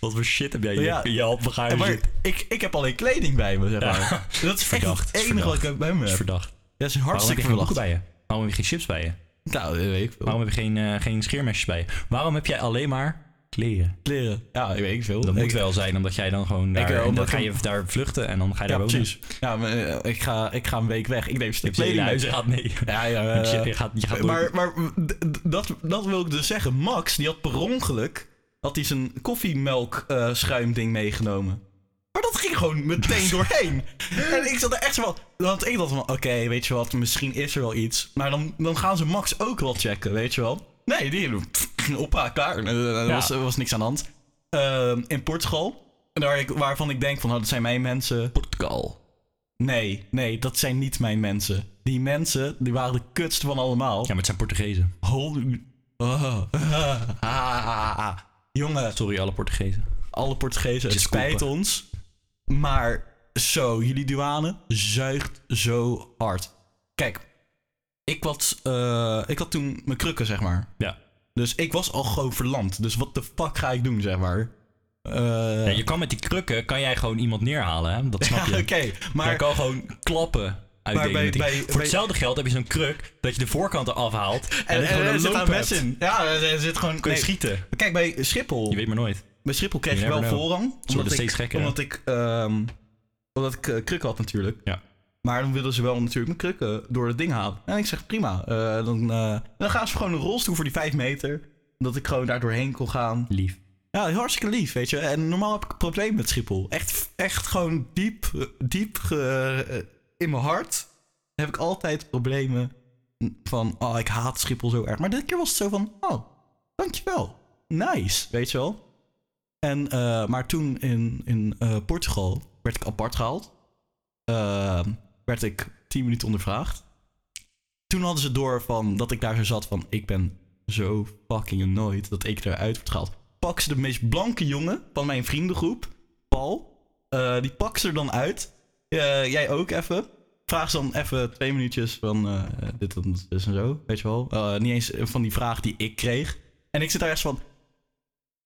Wat voor shit heb jij hier Ja. in dus je handbagaar En maar zitten? ik, ik heb alleen kleding bij me, zeg Ja. [LAUGHS] maar. Dat is Verdacht, echt het is enige wat verdacht. ik ook bij me Dat is heb. verdacht. Dat is Waarom heb hartstikke je geen boeken verdacht. bij je? Waarom heb je geen chips bij je? Nou, dat weet ik veel. Waarom heb je geen, eh, geen scheermesjes bij je? Waarom heb jij alleen maar kleren? Kleren. Ja, ik weet ik veel. Dat ik, moet wel zijn, omdat jij dan gewoon daar... eh, en dan omdat ga ik- je daar vluchten en dan ga je Ja, daar wonen. precies. Ja, maar, eh, ik, ga, ik ga een week weg. Ik neem een stuk Je hele kleding mee. huis gaat mee. Ja, ja. [LAUGHS] eh, je gaat, je gaat door- maar maar d- d- dat, dat wil ik dus zeggen. Max, die had per ongeluk had hij zijn koffiemelk eh, schuimding meegenomen. Maar dat ging [LAUGHS] gewoon meteen doorheen. en ik zat er echt zo van... Want ik dacht van, oké, weet je wat, misschien is er wel iets. Maar dan, dan gaan ze Max ook wel checken, weet je wel. Nee, die [LAUGHS] oppa, klaar. Eh, Er Ja. was, er was niks aan de hand. Ehm, in Portugal, waar ik, waarvan ik denk van, nou, dat zijn mijn mensen. Portugal. Nee, nee, dat zijn niet mijn mensen. Die mensen, die waren de kutste van allemaal. Ja, maar het zijn Portugezen. [LAUGHS] Holy. Ah. Ah. Ah. Jongen, Sorry, alle Portugezen. alle Portugezen, het Desculpa. spijt ons. Maar zo, jullie douane zuigt zo hard. Kijk, ik had, eh, ik had toen mijn krukken, zeg maar. Ja. Dus ik was al gewoon verlamd. Dus wat de fuck ga ik doen, zeg maar? Eh, Ja, [LAUGHS] je kan met die krukken, kan jij gewoon iemand neerhalen, hè? Dat snap je. Oké, Maar maar je kan gewoon klappen uitdelen. bij- met die- bij- Voor bij- hetzelfde geld heb je zo'n kruk dat je de voorkant eraf haalt. En, en, dat je en, gewoon er een zit loop daar mes hebt. in. Ja, er, er zit gewoon... Kun je nee, schieten. Kijk, bij Schiphol... Je weet maar nooit. Bij Schiphol kreeg You ik wel never know. voorrang. nou, worden Omdat ik, steeds gekker, hè? omdat ik, ehm, omdat ik eh, krukken had natuurlijk. Ja. Maar dan wilden ze wel natuurlijk mijn krukken door het ding halen. En ik zeg prima. eh, dan, eh, dan gaan ze gewoon een rolstoel voor die 5 meter. Dat ik gewoon daar doorheen kon gaan. Lief. Ja, hartstikke lief, weet je. En normaal heb ik een probleem met Schiphol. Echt, echt gewoon diep, eh, diep ge- eh, in mijn hart heb ik altijd problemen van... Oh, ik haat Schiphol zo erg. Maar dit keer was het zo van... Oh, dankjewel. Nice, weet je wel. En, eh, maar toen in, in eh, Portugal werd ik apart gehaald. Ehm, werd ik tien minuten ondervraagd. Toen hadden ze door van, dat ik daar zo zat van... Ik ben zo fucking annoyed dat ik eruit word gehaald. Pak ze de meest blanke jongen van mijn vriendengroep, Paul. eh, die pak ze er dan uit. Eh, jij ook even. Vraag ze dan even twee minuutjes van eh, dit en dat is en zo, weet je wel. Eh, niet eens van die vraag die ik kreeg. En ik zit daar echt van...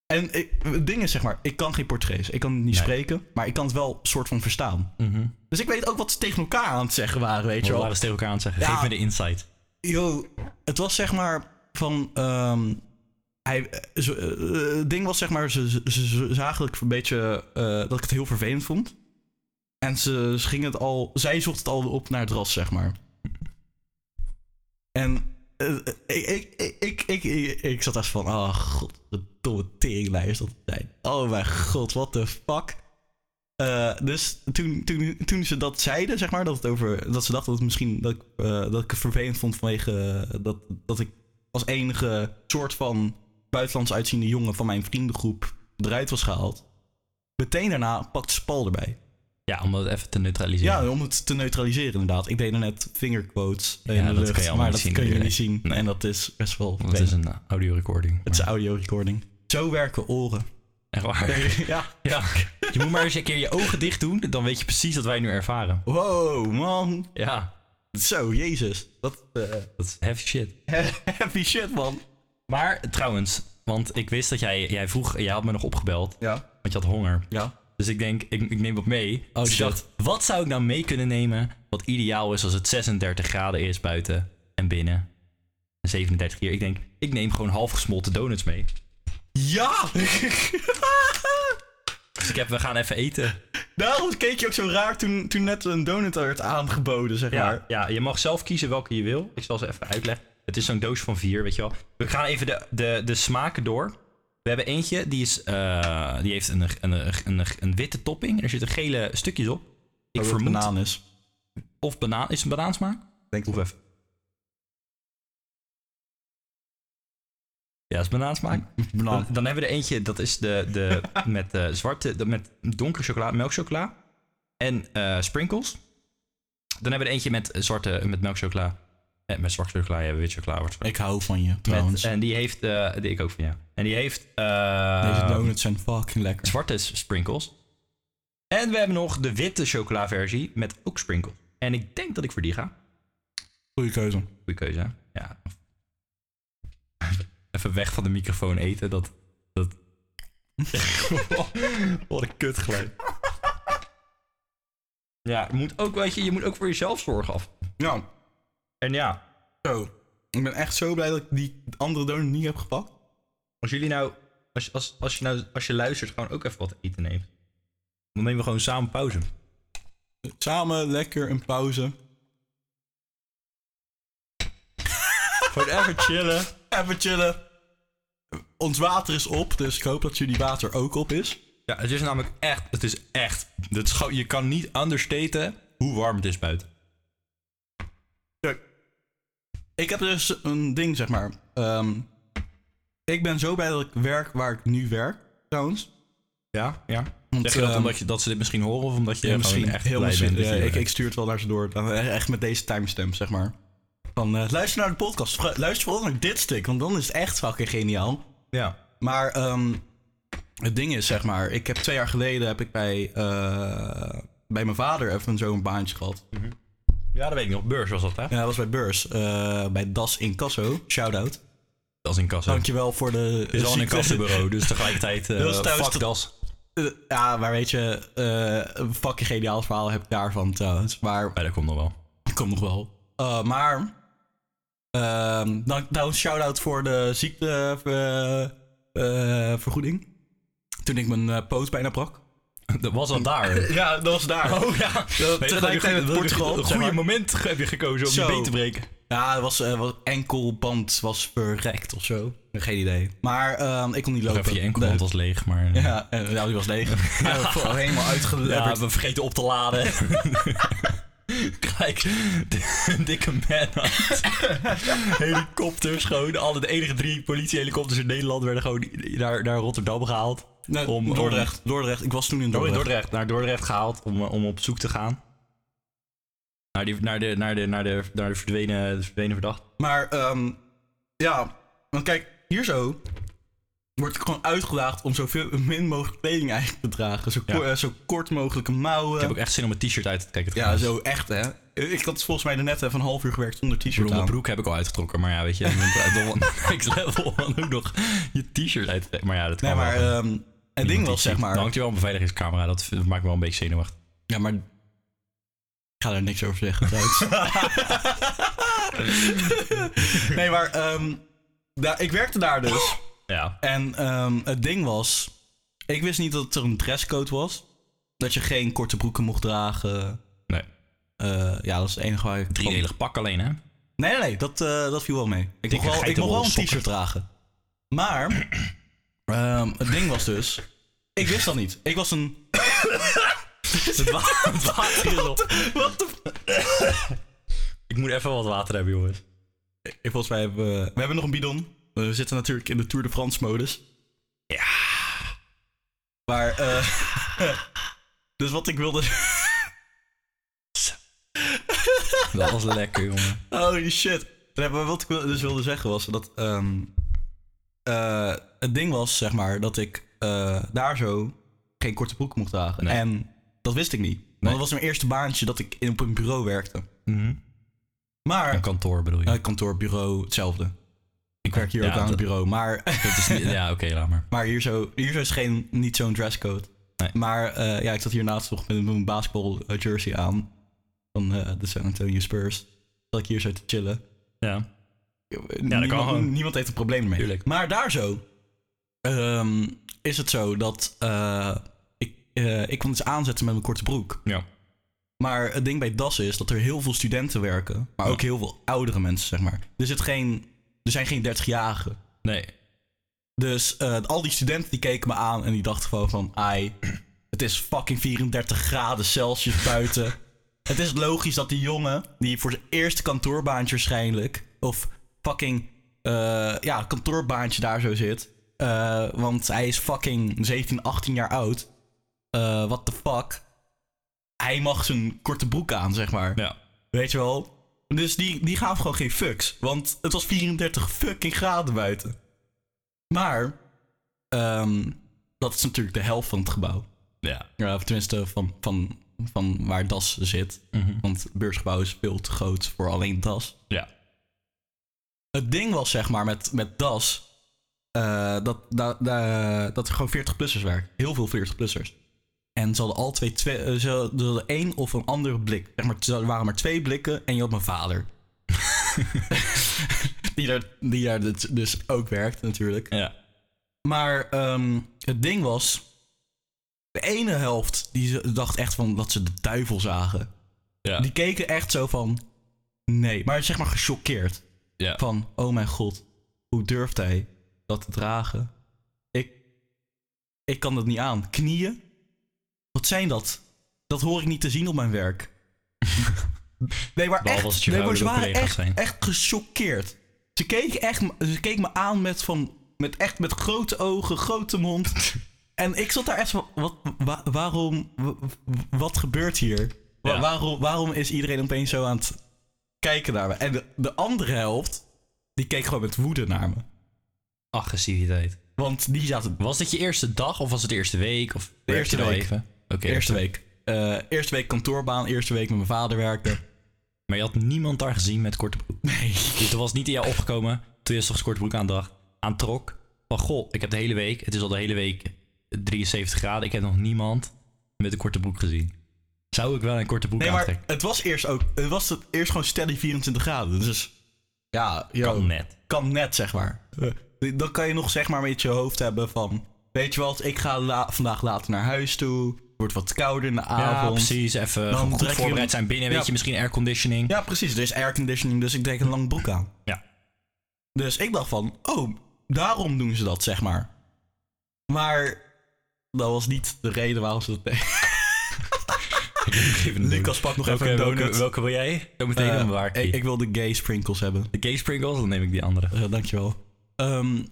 En ik, het ding is zeg maar, ik kan geen Portugees. Ik kan het niet Nee. spreken, maar ik kan het wel soort van verstaan. Mhm. Dus ik weet ook wat ze tegen elkaar aan het zeggen waren, weet je We wel. waren ze tegen elkaar aan het zeggen. Ja. Geef me de insight. Yo, het was zeg maar van. ehm, hij, eh, zo- eh, het ding was zeg maar, ze, ze, ze zagen dat ik een beetje. eh, dat ik het heel vervelend vond. En ze, ze gingen het al. Zij zocht het al op naar het ras, zeg maar. En. eh, ik, ik, ik, ik, ik, ik zat echt van. Oh, god. De domme teringlijn is dat. het zijn. Oh, mijn god, what the fuck. Eh, dus toen, toen, toen ze dat zeiden, zeg maar, dat, het over, dat ze dachten dat, het misschien, dat, ik, eh, dat ik het vervelend vond vanwege eh, dat, dat ik als enige soort van buitenlands uitziende jongen van mijn vriendengroep eruit was gehaald. Meteen daarna pakte Spal erbij. Ja, om dat even te neutraliseren. Ja, om het te neutraliseren inderdaad. Ik deed er net fingerquotes in Ja, de dat lucht, kan je allemaal maar niet dat zien, kun je natuurlijk. niet zien. Nee. En dat is best wel Want het is een eh, audio recording. Het is een audio recording. Zo werken oren. [LAUGHS] echt waar. ja. Ja. Je moet maar eens een keer je ogen dicht doen, dan weet je precies wat wij nu ervaren. Wow, man. Ja, Zo, jezus. Dat eh, dat is heavy shit. [LAUGHS] heavy shit, man. Maar trouwens, want ik wist dat jij, jij vroeg, jij had me nog opgebeld, Ja. want je had honger. Ja. Dus ik denk, ik, ik neem wat mee. Oh, Dus ik shit. dacht, wat zou ik nou mee kunnen nemen wat ideaal is als het 36 graden is buiten en binnen? En 37 hier. Ik denk, ik neem gewoon halfgesmolten donuts mee. Ja! [LAUGHS] Dus ik heb, we gaan even eten. Daarom keek je ook zo raar toen, toen net een donut werd aangeboden, zeg Ja, maar. ja, je mag zelf kiezen welke je wil. Ik zal ze even uitleggen. Het is zo'n doos van vier, weet je wel. We gaan even de, de, de smaken door. We hebben eentje, die, is, eh, die heeft een, een, een, een witte topping. Er zitten gele stukjes op. Ik Oh, dat vermoed... banaan is. Of banaan. Is het een banaansmaak? Denk Proef even. Ja, is banaansmaak. Dan, [LAUGHS] Banaan. dan hebben we er eentje, dat is de, [LAUGHS] de met eh, zwarte, de- met donkere chocola, melkchocola en eh, sprinkles. Dan hebben we er eentje met eh, zwarte, met melkchocola. Eh, met zwarte chocola, ja, wit chocola wordt Ik hou van je, met, trouwens. En die heeft, eh, die ik ook van jou. En die heeft eh, Deze donuts zijn fucking [LAUGHS] lekker. zwarte s- sprinkles. En we hebben nog de witte chocola versie met ook sprinkles. En ik denk dat ik voor die ga. Goeie [LAUGHS] keuze. Goeie keuze, hè? Ja. Even weg van de microfoon eten, dat... dat... Wat een kutgeluid. Ja, je moet, ook, weet je, je moet ook voor jezelf zorgen af. Ja, En ja, zo. Ik ben echt zo blij dat ik die andere donut niet heb gepakt. als jullie nou... Als, als, als, je nou, als je luistert, gewoon ook even wat eten neemt. Dan nemen we gewoon samen pauze. Samen lekker een pauze. Gewoon even chillen. Even chillen. Ons water is op, dus ik hoop dat jullie water ook op is. Ja, het is namelijk echt... Het is echt... Het is gewoon- je kan niet understaten hoe warm het is buiten. Ik heb dus een ding, zeg maar. Ehm, ik ben zo blij dat ik werk waar ik nu werk, trouwens. Ja, ja. Want, Zeg je dat ehm, omdat je, dat ze dit misschien horen of omdat je ja, gewoon misschien echt heel blij misschien. bent? dat Ja, je- ik, ik stuur het wel naar ze door. Dan eh, Echt met deze timestamp, zeg maar. Van, eh, luister naar de podcast. Vra- Luister vooral naar dit stuk, want dan is het echt fucking geniaal. ja. Maar ehm, het ding is, zeg maar, ik heb twee jaar geleden heb ik bij, eh, bij mijn vader even zo'n baantje gehad. ja, dat weet ik nog. Beurs was dat, hè? Ja, dat was bij Beurs, eh, bij Das Incasso. Shout-out. Dat is in kassa. Het Dankjewel voor de... is al in [LAUGHS] een ziekte. kassenbureau, dus tegelijkertijd... eh Dat is thuis fuck de- das. Eh, Ja, maar weet je, eh, een fucking geniaal verhaal heb ik daarvan trouwens. Maar Ja, dat komt nog wel. Kom nog wel. Eh, maar. ehm dan, dan shout-out voor de ziektevergoeding. Toen ik mijn eh, poot bijna brak. [LAUGHS] Dat was al [LAUGHS] daar. Ja, dat was daar. Oh ja, tegelijkertijd met Portugal, Een zeg goede maar. moment [LAUGHS] ge- heb je gekozen om Zo. je been te breken. Ja, het was, eh, was, enkelband was verrekt of zo. Geen idee. Maar ehm, ik kon niet Nog lopen. even je enkelband was leeg, maar... Ja, Ja, eh, nou, die was [LAUGHS] leeg. Ja, voor- helemaal uitgelepperd. we vergeten op te laden. [LAUGHS] Kijk, de- dikke man. [LAUGHS] Helikopters gewoon. Alle, de enige drie politiehelikopters in Nederland werden gewoon naar, naar Rotterdam gehaald. Nee, om- om- Dordrecht, Dordrecht. Ik was toen in Dordrecht. Dordrecht. Dordrecht, naar Dordrecht gehaald om, eh, om op zoek te gaan. Naar, die, naar, de, naar, de, naar, de, naar de verdwenen, de verdwenen verdachte. Maar ehm, ja, want kijk, hier zo word ik gewoon uitgedaagd om zoveel min mogelijk kleding eigenlijk te dragen. Zo, ko- Ja. eh, zo kort mogelijke Ik heb ook mouwen. echt zin om een t-shirt uit te trekken. Ja, trouwens. zo echt hè. Ik had volgens mij net even een half uur gewerkt zonder Ik t-shirt bedoel, mijn aan. broek heb ik al uitgetrokken, maar ja, weet je. dan moet je dan wel [LAUGHS] Next level, dan ook nog je t-shirt uit te trekken. Maar ja, dat kan Nee, maar wel. ehm, het ding Iemand was die- zeg Dan maar... hangt je wel een beveiligingscamera, dat v- maakt me wel een beetje zenuwachtig. Ja, maar... Ik ga daar niks over zeggen trouwens. [LAUGHS] nee, maar ehm, daar- ik werkte daar dus. Ja, En ehm, het ding was, ik wist niet dat er een dresscode was. Dat je geen korte broeken mocht dragen. nee. Eh, ja, dat is het enige waar ik... Driedelig pak alleen, hè? Nee, nee, nee, dat, eh, dat viel wel mee. Ik Dikke mocht wel, ik mocht geitenwolle wel een sokken. t-shirt dragen. [CLEARS THROAT] [LAUGHS] Maar, ehm, het ding was dus, ik wist dat niet. Ik was een... Het, wa- het [LAUGHS] water is op. Wat de... Ik moet even wat water hebben, jongens. Ik, volgens mij hebben we... We hebben nog een bidon. We zitten natuurlijk in de Tour de France modus. Ja. Maar, eh... [LAUGHS] dus wat ik wilde... Dat was lekker, jongen. Holy shit. Nee, maar wat ik wil- dus wilde zeggen was dat... ehm, eh, het ding was, zeg maar, dat ik eh, daar zo geen korte broek mocht dragen. Nee. En dat wist ik niet. Want dat was mijn eerste baantje dat ik in, op een bureau werkte. Mhm. Maar... Een kantoor bedoel je? Ja, kantoor, bureau, hetzelfde. Ik werk hier Ja, ook aan het dat- bureau, maar... [LAUGHS] Dat is niet- ja, oké, laat maar. Maar hier zo, hier zo is geen, niet zo'n dresscode. Nee. Maar eh, ja, ik zat hiernaast nog met mijn basketball eh, jersey aan. Van eh, de San Antonio Spurs. Zat ik hier zo te chillen. Ja. kan niemand, gewoon. niemand heeft een probleem ermee. Tuurlijk. Maar daar zo ehm, is het zo dat eh, ik, eh, ik kon iets aanzetten met mijn korte broek. Ja. Maar het ding bij DAS is dat er heel veel studenten werken. Maar Ja. ook heel veel oudere mensen, zeg maar. Er, zit geen, er zijn geen 30-jarigen. Nee. Dus eh, al die studenten die keken me aan en die dachten gewoon van... Ai, het is fucking 34 graden Celsius buiten. het is logisch dat die jongen, die voor zijn eerste kantoorbaantje waarschijnlijk... Of fucking, eh, ja, kantoorbaantje daar zo zit. eh, want hij is fucking 17, 18 jaar oud. Eh what the fuck? Hij mag zijn korte broek aan, zeg maar. Ja. Weet je wel? Dus die, die gaven gewoon geen fucks. Want het was 34 fucking graden buiten. Maar, ehm, dat is natuurlijk de helft van het gebouw. Ja. Ja, of tenminste van, van, van waar DAS zit. Want het beursgebouw is veel te groot voor alleen DAS. Ja. Het ding was zeg maar met, met DAS... eh, dat, dat, dat- dat er gewoon 40-plussers waren. Heel veel 40-plussers. En ze hadden al twee, twee eh, ze hadden één of een andere blik. Zeg maar, er waren maar twee blikken en je had mijn vader. [LAUGHS] die daar, die daar dus- dus ook werkt natuurlijk. Ja. Maar ehm, het ding was, de ene helft die ze- dacht echt van dat ze de duivel zagen. Ja. Die keken echt zo van, nee, maar zeg maar gechoqueerd. Ja. Van, oh mijn god, hoe durft hij dat te dragen? Ik, ik kan dat niet aan. Knieën? Wat zijn dat? Dat hoor ik niet te zien op mijn [LAUGHS] werk. nee, maar Behalve echt, als het je nee, maar ze oude waren collega's echt, zijn. echt gechoqueerd. Ze keek, echt, ze keek me aan met, van, met, echt met grote ogen, grote [LAUGHS] mond. en ik zat daar echt van, wat, wa- waarom, wa- wat gebeurt hier? Wa- Ja. waarom, waarom is iedereen opeens zo aan het kijken naar me? En de, de andere helft, die keek gewoon met woede naar me. Agressiviteit. Want die zaten Was dit je eerste dag of was het de eerste week? Of De werkte eerste je al week. even? Oké. eerste week. eh, eerste week kantoorbaan, eerste week met mijn vader werken. Maar je had niemand daar gezien met korte broek. Nee. Dus er was niet in jou opgekomen toen je s'ochtends korte broek aandacht aantrok. Van goh, ik heb de hele week, het is al de hele week 73 graden. Ik heb nog niemand met een korte broek gezien. Zou ik wel een korte broek Nee, maar aantrekken? het was eerst ook, het was het eerst gewoon steady 24 graden. Dus ja, yo, Kan net. kan net, zeg maar. Eh, Dan kan je nog zeg maar met je hoofd hebben van, weet je wat, ik ga la- vandaag later naar huis toe. Het wordt wat kouder in de avond. Ja, precies. Even gewoon goed trek je hem- voorbereid zijn binnen. Weet Ja. je, misschien airconditioning. Ja, precies. Er is airconditioning, dus ik trek een lang broek aan. Ja. Dus ik dacht van, oh, daarom doen ze dat, zeg maar. Maar dat was niet de reden waarom ze dat deden. Lucas pakt nog even welke, een welke, donut. welke wil jij? Zometeen Eh, dan bewaar ik die. ik, ik wil de gay sprinkles hebben. De gay sprinkles, dan neem ik die andere. Eh, dankjewel. Ehm,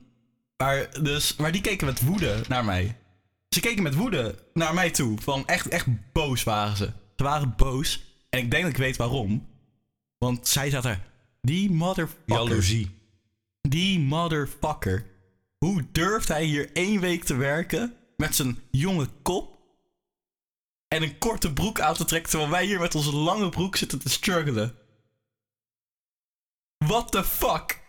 maar, dus, maar die keken met woede naar mij. Ze keken met woede naar mij toe. Van echt, echt boos waren ze. Ze waren boos. En ik denk dat ik weet waarom. Want zij zaten er. Die motherfucker. Die motherfucker. Hoe durft hij hier één week te werken met zijn jonge kop en een korte broek aan te trekken terwijl wij hier met onze lange broek zitten te struggelen? What the fuck?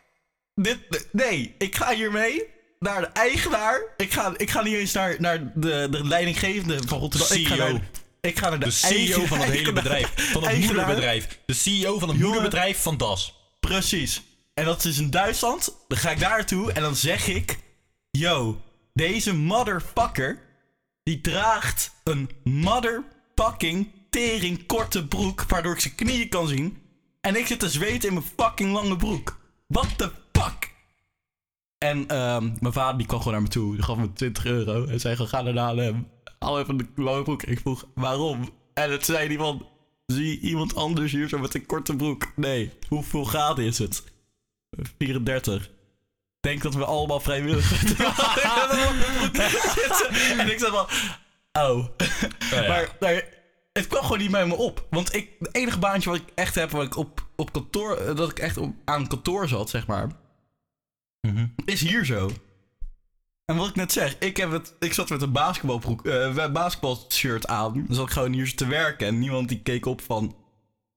Dit, nee, ik ga hiermee naar de eigenaar. Ik ga, ik ga niet eens naar, naar de, de leidinggevende van Rotterdam. Ik ga CEO. naar, ik ga naar de, E De CEO eigen- van het hele eigenaar- [LAUGHS] bedrijf. Van het eigenaar. moederbedrijf. De CEO van het Jongen. moederbedrijf van Das. Precies. En dat is in Duitsland. Dan ga ik daartoe en dan zeg ik... Yo, deze motherfucker... Die draagt een motherfucking tering korte broek... Waardoor ik zijn knieën kan zien. En ik zit te zweten in mijn fucking lange broek. What the fuck? En ehm, mijn vader die kwam gewoon naar me toe. Die gaf me 20 euro. En zei gewoon, ga naar hem. Al even de lange broek. Ik vroeg, waarom? En het zei die van, zie iemand anders hier zo met een korte broek. Nee, hoeveel graden is het? 34. Denk dat we allemaal [LAUGHS] vrijwillig [LAUGHS] En ik zei van, oh. ja. Maar nou, het kwam gewoon niet bij me op. Want ik, het enige baantje wat ik echt heb, wat ik op, op kantoor, eh, dat ik echt op, aan kantoor zat, zeg maar, Mhm. is hier zo. En wat ik net zeg, ik, heb het, ik zat met een basketbalbroek, eh basketbalshirt aan. Dan zat ik gewoon hier te werken en niemand die keek op van,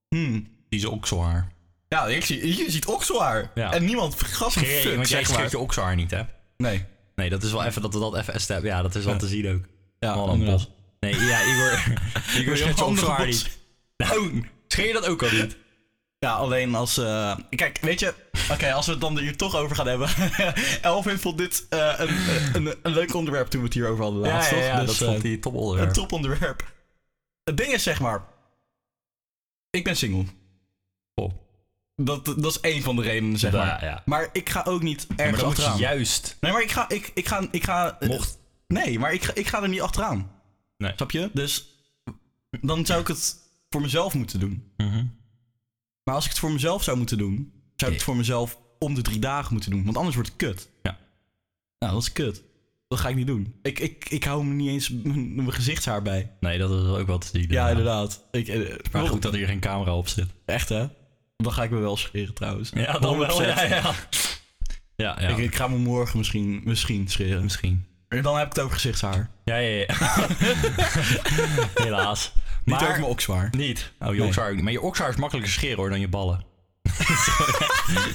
hmm. Die is okselhaar. Ja, ik zie, je ziet okselhaar. Ja. En niemand gaf een Geer, fuck, want jij zeg maar. scheert je okselhaar niet, hè? Nee. Nee, dat is wel even dat we dat even established Ja, dat is wel te zien ook. Ja, Man, een bot. Nee, ja, [LAUGHS] Igor, Igor scheert je Andere okselhaar bot. niet. Nou, scheer je dat ook al niet? Ja, alleen als. eh, Kijk, weet je. Oké, als we het dan hier toch over gaan hebben. [LAUGHS] Elvin vond dit eh, een, een, een leuk onderwerp toen we het hierover hadden laatst. toch? Dus, dat eh, vond hij top Een onderwerp. toponderwerp. Het ding is zeg maar. Ik ben single. Oh. Dat, dat is één van de redenen zeg Ja, maar. ja. Maar ik ga ook niet Maar ergens dan moet je achteraan. juist... Nee, maar ik ga. Ik, ik ga, ik ga eh, Mocht... Nee, maar ik ga, ik ga er niet achteraan. Nee. Snap je? Dus dan zou ik het voor mezelf moeten doen. Mhm. Maar als ik het voor mezelf zou moeten doen, zou ik het voor mezelf om de drie dagen moeten doen. Want anders wordt het kut. Ja. Nou, dat is kut. Dat ga ik niet doen. Ik, ik, ik hou me niet eens mijn, mijn gezichtshaar bij. Nee, dat is ook wel te zien. Ja, inderdaad. Ik, eh, Maar waarom? goed dat hier geen camera op zit. Echt hè? Dan ga ik me wel scheren trouwens. Ja, [LAUGHS] dan wel. 100%. Ja, ja. ja, ja. Ik, ik ga me morgen misschien, misschien scheren. misschien. En dan heb ik het over gezichtshaar. Ja, ja, ja. [LAUGHS] Helaas. Niet over Maar... mijn okswaar. Niet. Oh, je Nee. okselhaar ook niet. Maar je okselhaar is makkelijker scheren hoor dan je [LAUGHS] ballen.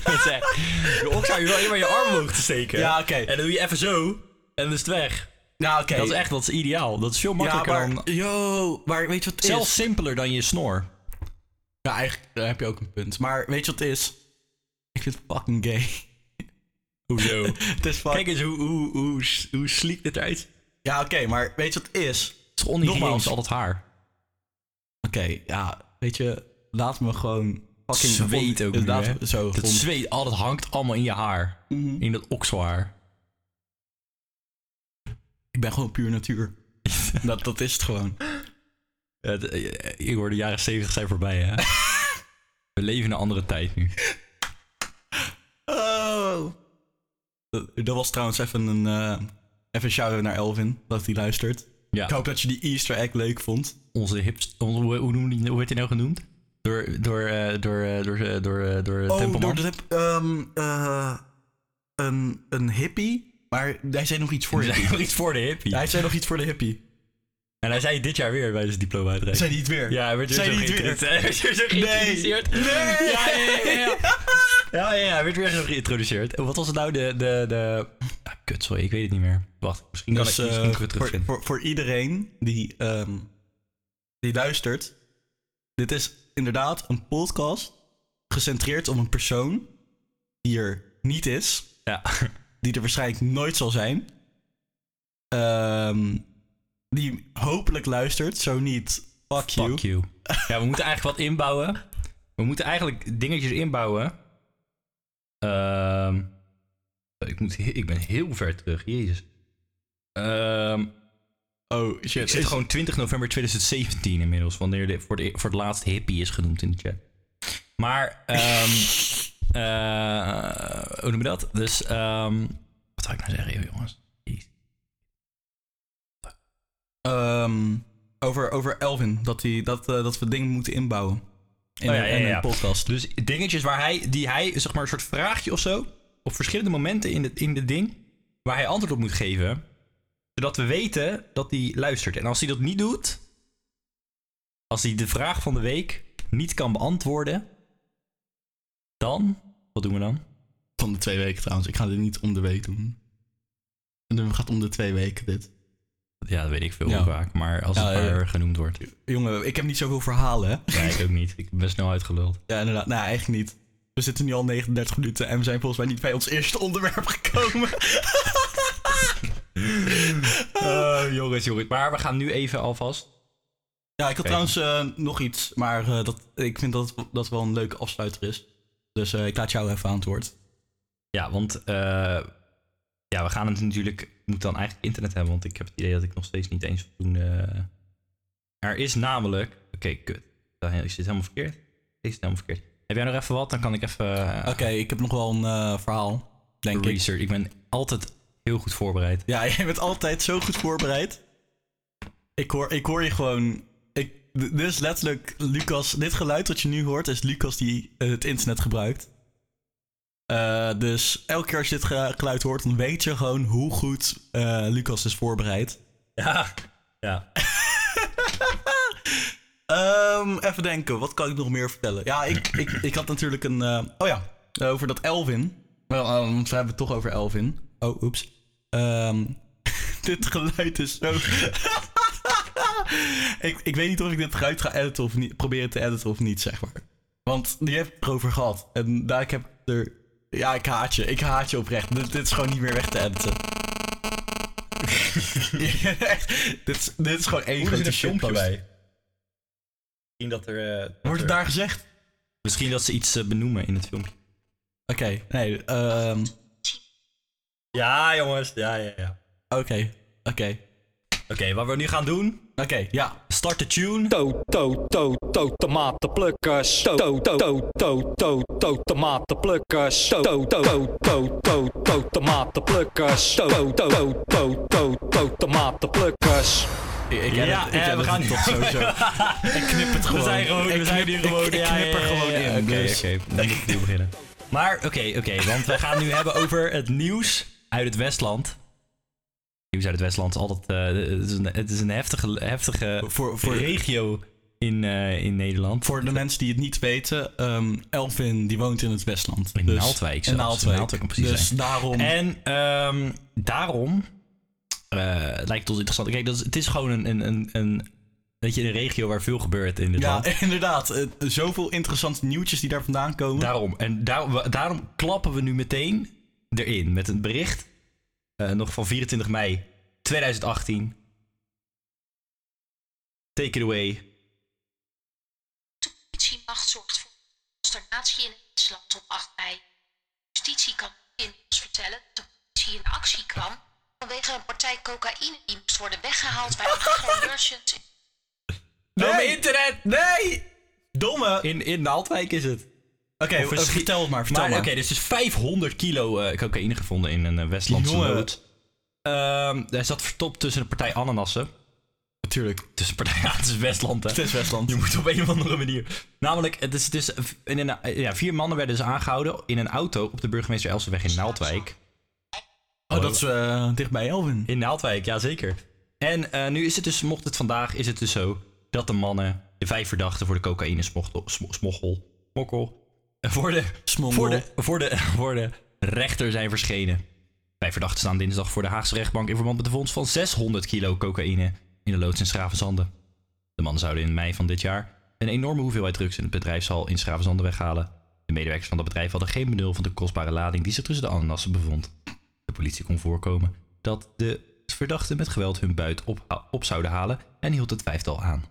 Dat is echt- je okselhaar, je wil alleen maar je arm omhoog te steken. Ja, oké. En dan doe je even zo. En dan is het weg. Ja, Nou, oké. Dat is echt, dat is ideaal. Dat is veel Ja, makkelijker maar, dan... yo, maar weet je wat het is? Zelfs simpeler dan je snor. Ja, eigenlijk daar heb je ook een punt. Maar weet je wat het is? Ik vind het fucking gay. [LAUGHS] Hoezo? Het is fucking... Kijk eens hoe, hoe, hoe, hoe sleek dit eruit. Het Ja, oké, maar weet je wat het is? is onhygiënisch, Nogmaals. al dat haar. Oké, ja, weet je, laat me gewoon fucking... Zweet ook nu, Laat- hè? Zo, Dat gewoon- zweet, al dat hangt allemaal in je haar. Mhm. In dat okselhaar. Ik ben gewoon puur [LAUGHS] natuur. dat, dat is het gewoon. Ja, d- eh, Igor, de jaren 70 zijn voorbij, [LAUGHS] hè? We leven in een andere tijd nu. Oh. Dat, dat was trouwens even een... eh, even een shout-out naar Elvin, dat hij luistert. Ja. Ik hoop dat je die easter egg leuk vond. Onze hips... Onze, hoe, hoe, noemen die, hoe werd hij nou genoemd? Door... Door... eh, door... eh, door... eh, door, eh, door, eh, Tempelman? Oh, [LAUGHS] door de... ehm, eh, een, een hippie, maar hij zei nog iets voor Hij hippie. zei nog iets voor de hippie. Ja, hij zei nog iets voor de hippie. En hij zei dit jaar weer bij zijn diploma uitreiking. Zei hij het weer? Ja, hij werd weer Zei zo hij het weer? geïntroduceerd. [LAUGHS] Hij werd weer zo geïntroduceerd. Nee! Ja, ja, ja, ja. Ja, ja, ja, hij werd weer zo geïntroduceerd. Wat was het nou de... de, de... Ah, kut, sorry, ik weet het niet meer. Wacht, misschien kan ik Dus eh, misschien terug voor, terugvinden. voor, voor iedereen die, ehm, die luistert, dit is inderdaad een podcast gecentreerd om een persoon die er niet is, Ja. die er waarschijnlijk nooit zal zijn, ehm, die hopelijk luistert, zo niet, fuck you. Fuck you. Ja, we moeten eigenlijk wat inbouwen. We moeten eigenlijk dingetjes inbouwen. Ehm, ik, moet, he- ik ben heel ver terug, jezus. Ehm, Oh shit, ik zit is- gewoon 20 november 2017 inmiddels, wanneer de, voor, de, voor het laatst hippie is genoemd in de chat. Maar, ehm, eh, hoe noem je dat? Dus, ehm, wat zou ik nou zeggen, joh, jongens? Jezus. ehm, over, over Elvin, dat, die, dat, eh, dat we dingen moeten inbouwen in, Oh ja, een- ja, in ja. een podcast. Dus dingetjes waar hij, die hij, zeg maar, een soort vraagje of zo, op verschillende momenten in het in dit ding, waar hij antwoord op moet geven, zodat we weten dat hij luistert. En als hij dat niet doet, als hij de vraag van de week niet kan beantwoorden, dan, wat doen we dan? Van de twee weken trouwens. Ik ga dit niet om de week doen. Het gaat om de twee weken dit. Ja, dat weet ik veel Ja. hoe vaak, maar als Ja, het ja. maar genoemd [LAUGHS] wordt. Jongen, ik heb niet zoveel verhalen, Ja, hè? ik ook niet. Ik ben snel uitgeluld. Ja, inderdaad. Nou, echt niet. We zitten nu al 39 minuten en we zijn volgens mij niet bij ons eerste onderwerp [LAUGHS] gekomen. Eh, Oh, jongens, jongens. Maar we gaan nu even alvast. ja, ik had trouwens eh, nog iets, maar eh, dat, ik vind dat dat wel een leuke afsluiter is. Dus eh, ik laat jou even aan het woord. Ja, want eh, ja, we gaan het natuurlijk. Ik moet dan eigenlijk internet hebben, want ik heb het idee dat ik nog steeds niet eens voldoende eh, Er is namelijk. Oké, kut. Dan eh, is dit helemaal verkeerd. Is het helemaal verkeerd? Heb jij nog even wat? Dan kan ik even eh, Oké, ik heb nog wel een eh, verhaal, denk ik. research. Ik ben altijd heel goed voorbereid. [LAUGHS] Ja, jij bent altijd zo goed voorbereid. Ik hoor, ik hoor je gewoon... Ik, d- dit is letterlijk Lucas... Dit geluid dat je nu hoort is Lucas die eh, het internet gebruikt. Eh, dus elke keer als je dit ge- geluid hoort, dan weet je gewoon hoe goed eh, Lucas is voorbereid. Ja. Ja. Ehm, even denken, wat kan ik nog meer vertellen? Ja, ik, ik, ik had natuurlijk een. eh, oh ja, over dat Elvin. Wel, ehm, want we hebben het toch over Elvin. Oh, oeps. Ehm, [LAUGHS] dit geluid is zo. [LAUGHS] ik, ik weet niet of ik dit geluid ga editen of niet. Proberen te editen of niet, zeg maar. Want die heb ik erover gehad. En daar ik heb er. Ja, ik haat je. Ik haat je oprecht. Dit, dit is gewoon niet meer weg te editen. [LAUGHS] Echt, dit, is- dit is gewoon één grote shitpost. Misschien dat er. Wordt het daar gezegd? Misschien dat ze iets eh, benoemen in het filmpje. Oké, nee, ehm, oké, Ja, jongens. Ja, ja, ja. oké, oké, Oké, wat we nu gaan doen. ja. Start de tune. Toot, toot, toot, toot, tomatenplukkers. Toot, toot, toot, toot, toot, toot, tomatenplukkers. Toot, toot, toot, toot, toot, toot, tomatenplukkers. Toot, toot, toot, toot, toot, toot, tomatenplukkers. Ik, ik Ja, edit- ik eh, we edit gaan- het toch [LAUGHS] [LAUGHS] sowieso. ik knip het gewoon. We zijn gewoon, Ik we zijn knip- hier gewoon. Ik, ik knip er gewoon in. Oké, dus- [LAUGHS] oké. Dan moet ik opnieuw beginnen. Maar oké, oké, want we gaan nu hebben over het nieuws uit het Westland. Nieuws uit het Westland is altijd. eh, het, is een, het is een heftige, heftige Voor, voor, regio in, eh, in Nederland. voor de mensen die het niet weten, ehm, Elvin die woont in het Westland. Dus In Naaldwijk In zelfs. Naaldwijk. In Naaldwijk, om precies te dus daarom... En ehm, daarom eh, lijkt het ons interessant. Kijk, dat is, het is gewoon een, een, een, een, weet je, een regio waar veel gebeurt in dit land. ja, [LAUGHS] inderdaad. eh, zoveel interessante nieuwtjes die daar vandaan komen. Daarom. En daar- wa- daarom klappen we nu meteen erin met een bericht. eh, nog van 24 mei 2018. Take it away. Politiemacht zorgt voor consternatie in het Island op 8 mei. Justitie kan in ons vertellen dat de politie in actie kwam vanwege een partij cocaïne die moest worden weggehaald bij een agro-merchant in Oh, mijn internet! Nee! Domme! Oké, In, in Naaldwijk is het. eh, verschi- vertel het maar, vertel maar maar. oké, dus is 500 kilo eh, cocaïne gevonden in een eh, Westlandse Jongen. nood. Ehm, hij zat verstopt tussen de partij Ananassen. Natuurlijk. Tussen partij, [LAUGHS] ja, het is Westland hè. Het is Westland. [LAUGHS] Je moet op een of andere manier. Namelijk, het is, het is, in een, eh, ja, vier mannen werden dus aangehouden in een auto op de burgemeester Elsenweg in Naaldwijk. Oh, dat is eh, dichtbij Elvin. In Naaldwijk, ja zeker. En eh, nu is het dus, mocht het vandaag, is het dus zo dat de mannen, de vijf verdachten voor de cocaïne smochtel- smo- smokkol, smokkel, eh, voor de, Smongel. voor, de, voor, de, voor de rechter zijn verschenen. Vijf verdachten staan dinsdag voor de Haagse rechtbank in verband met de vondst van 600 kilo cocaïne in de loods in Schravenzande. De mannen zouden in mei van dit jaar een enorme hoeveelheid drugs in het bedrijfshal in Schravenzande weghalen. De medewerkers van dat bedrijf hadden geen benul van de kostbare lading die zich tussen de ananassen bevond. De politie kon voorkomen dat de verdachten met geweld hun buit op, op zouden halen en hield het vijftal aan.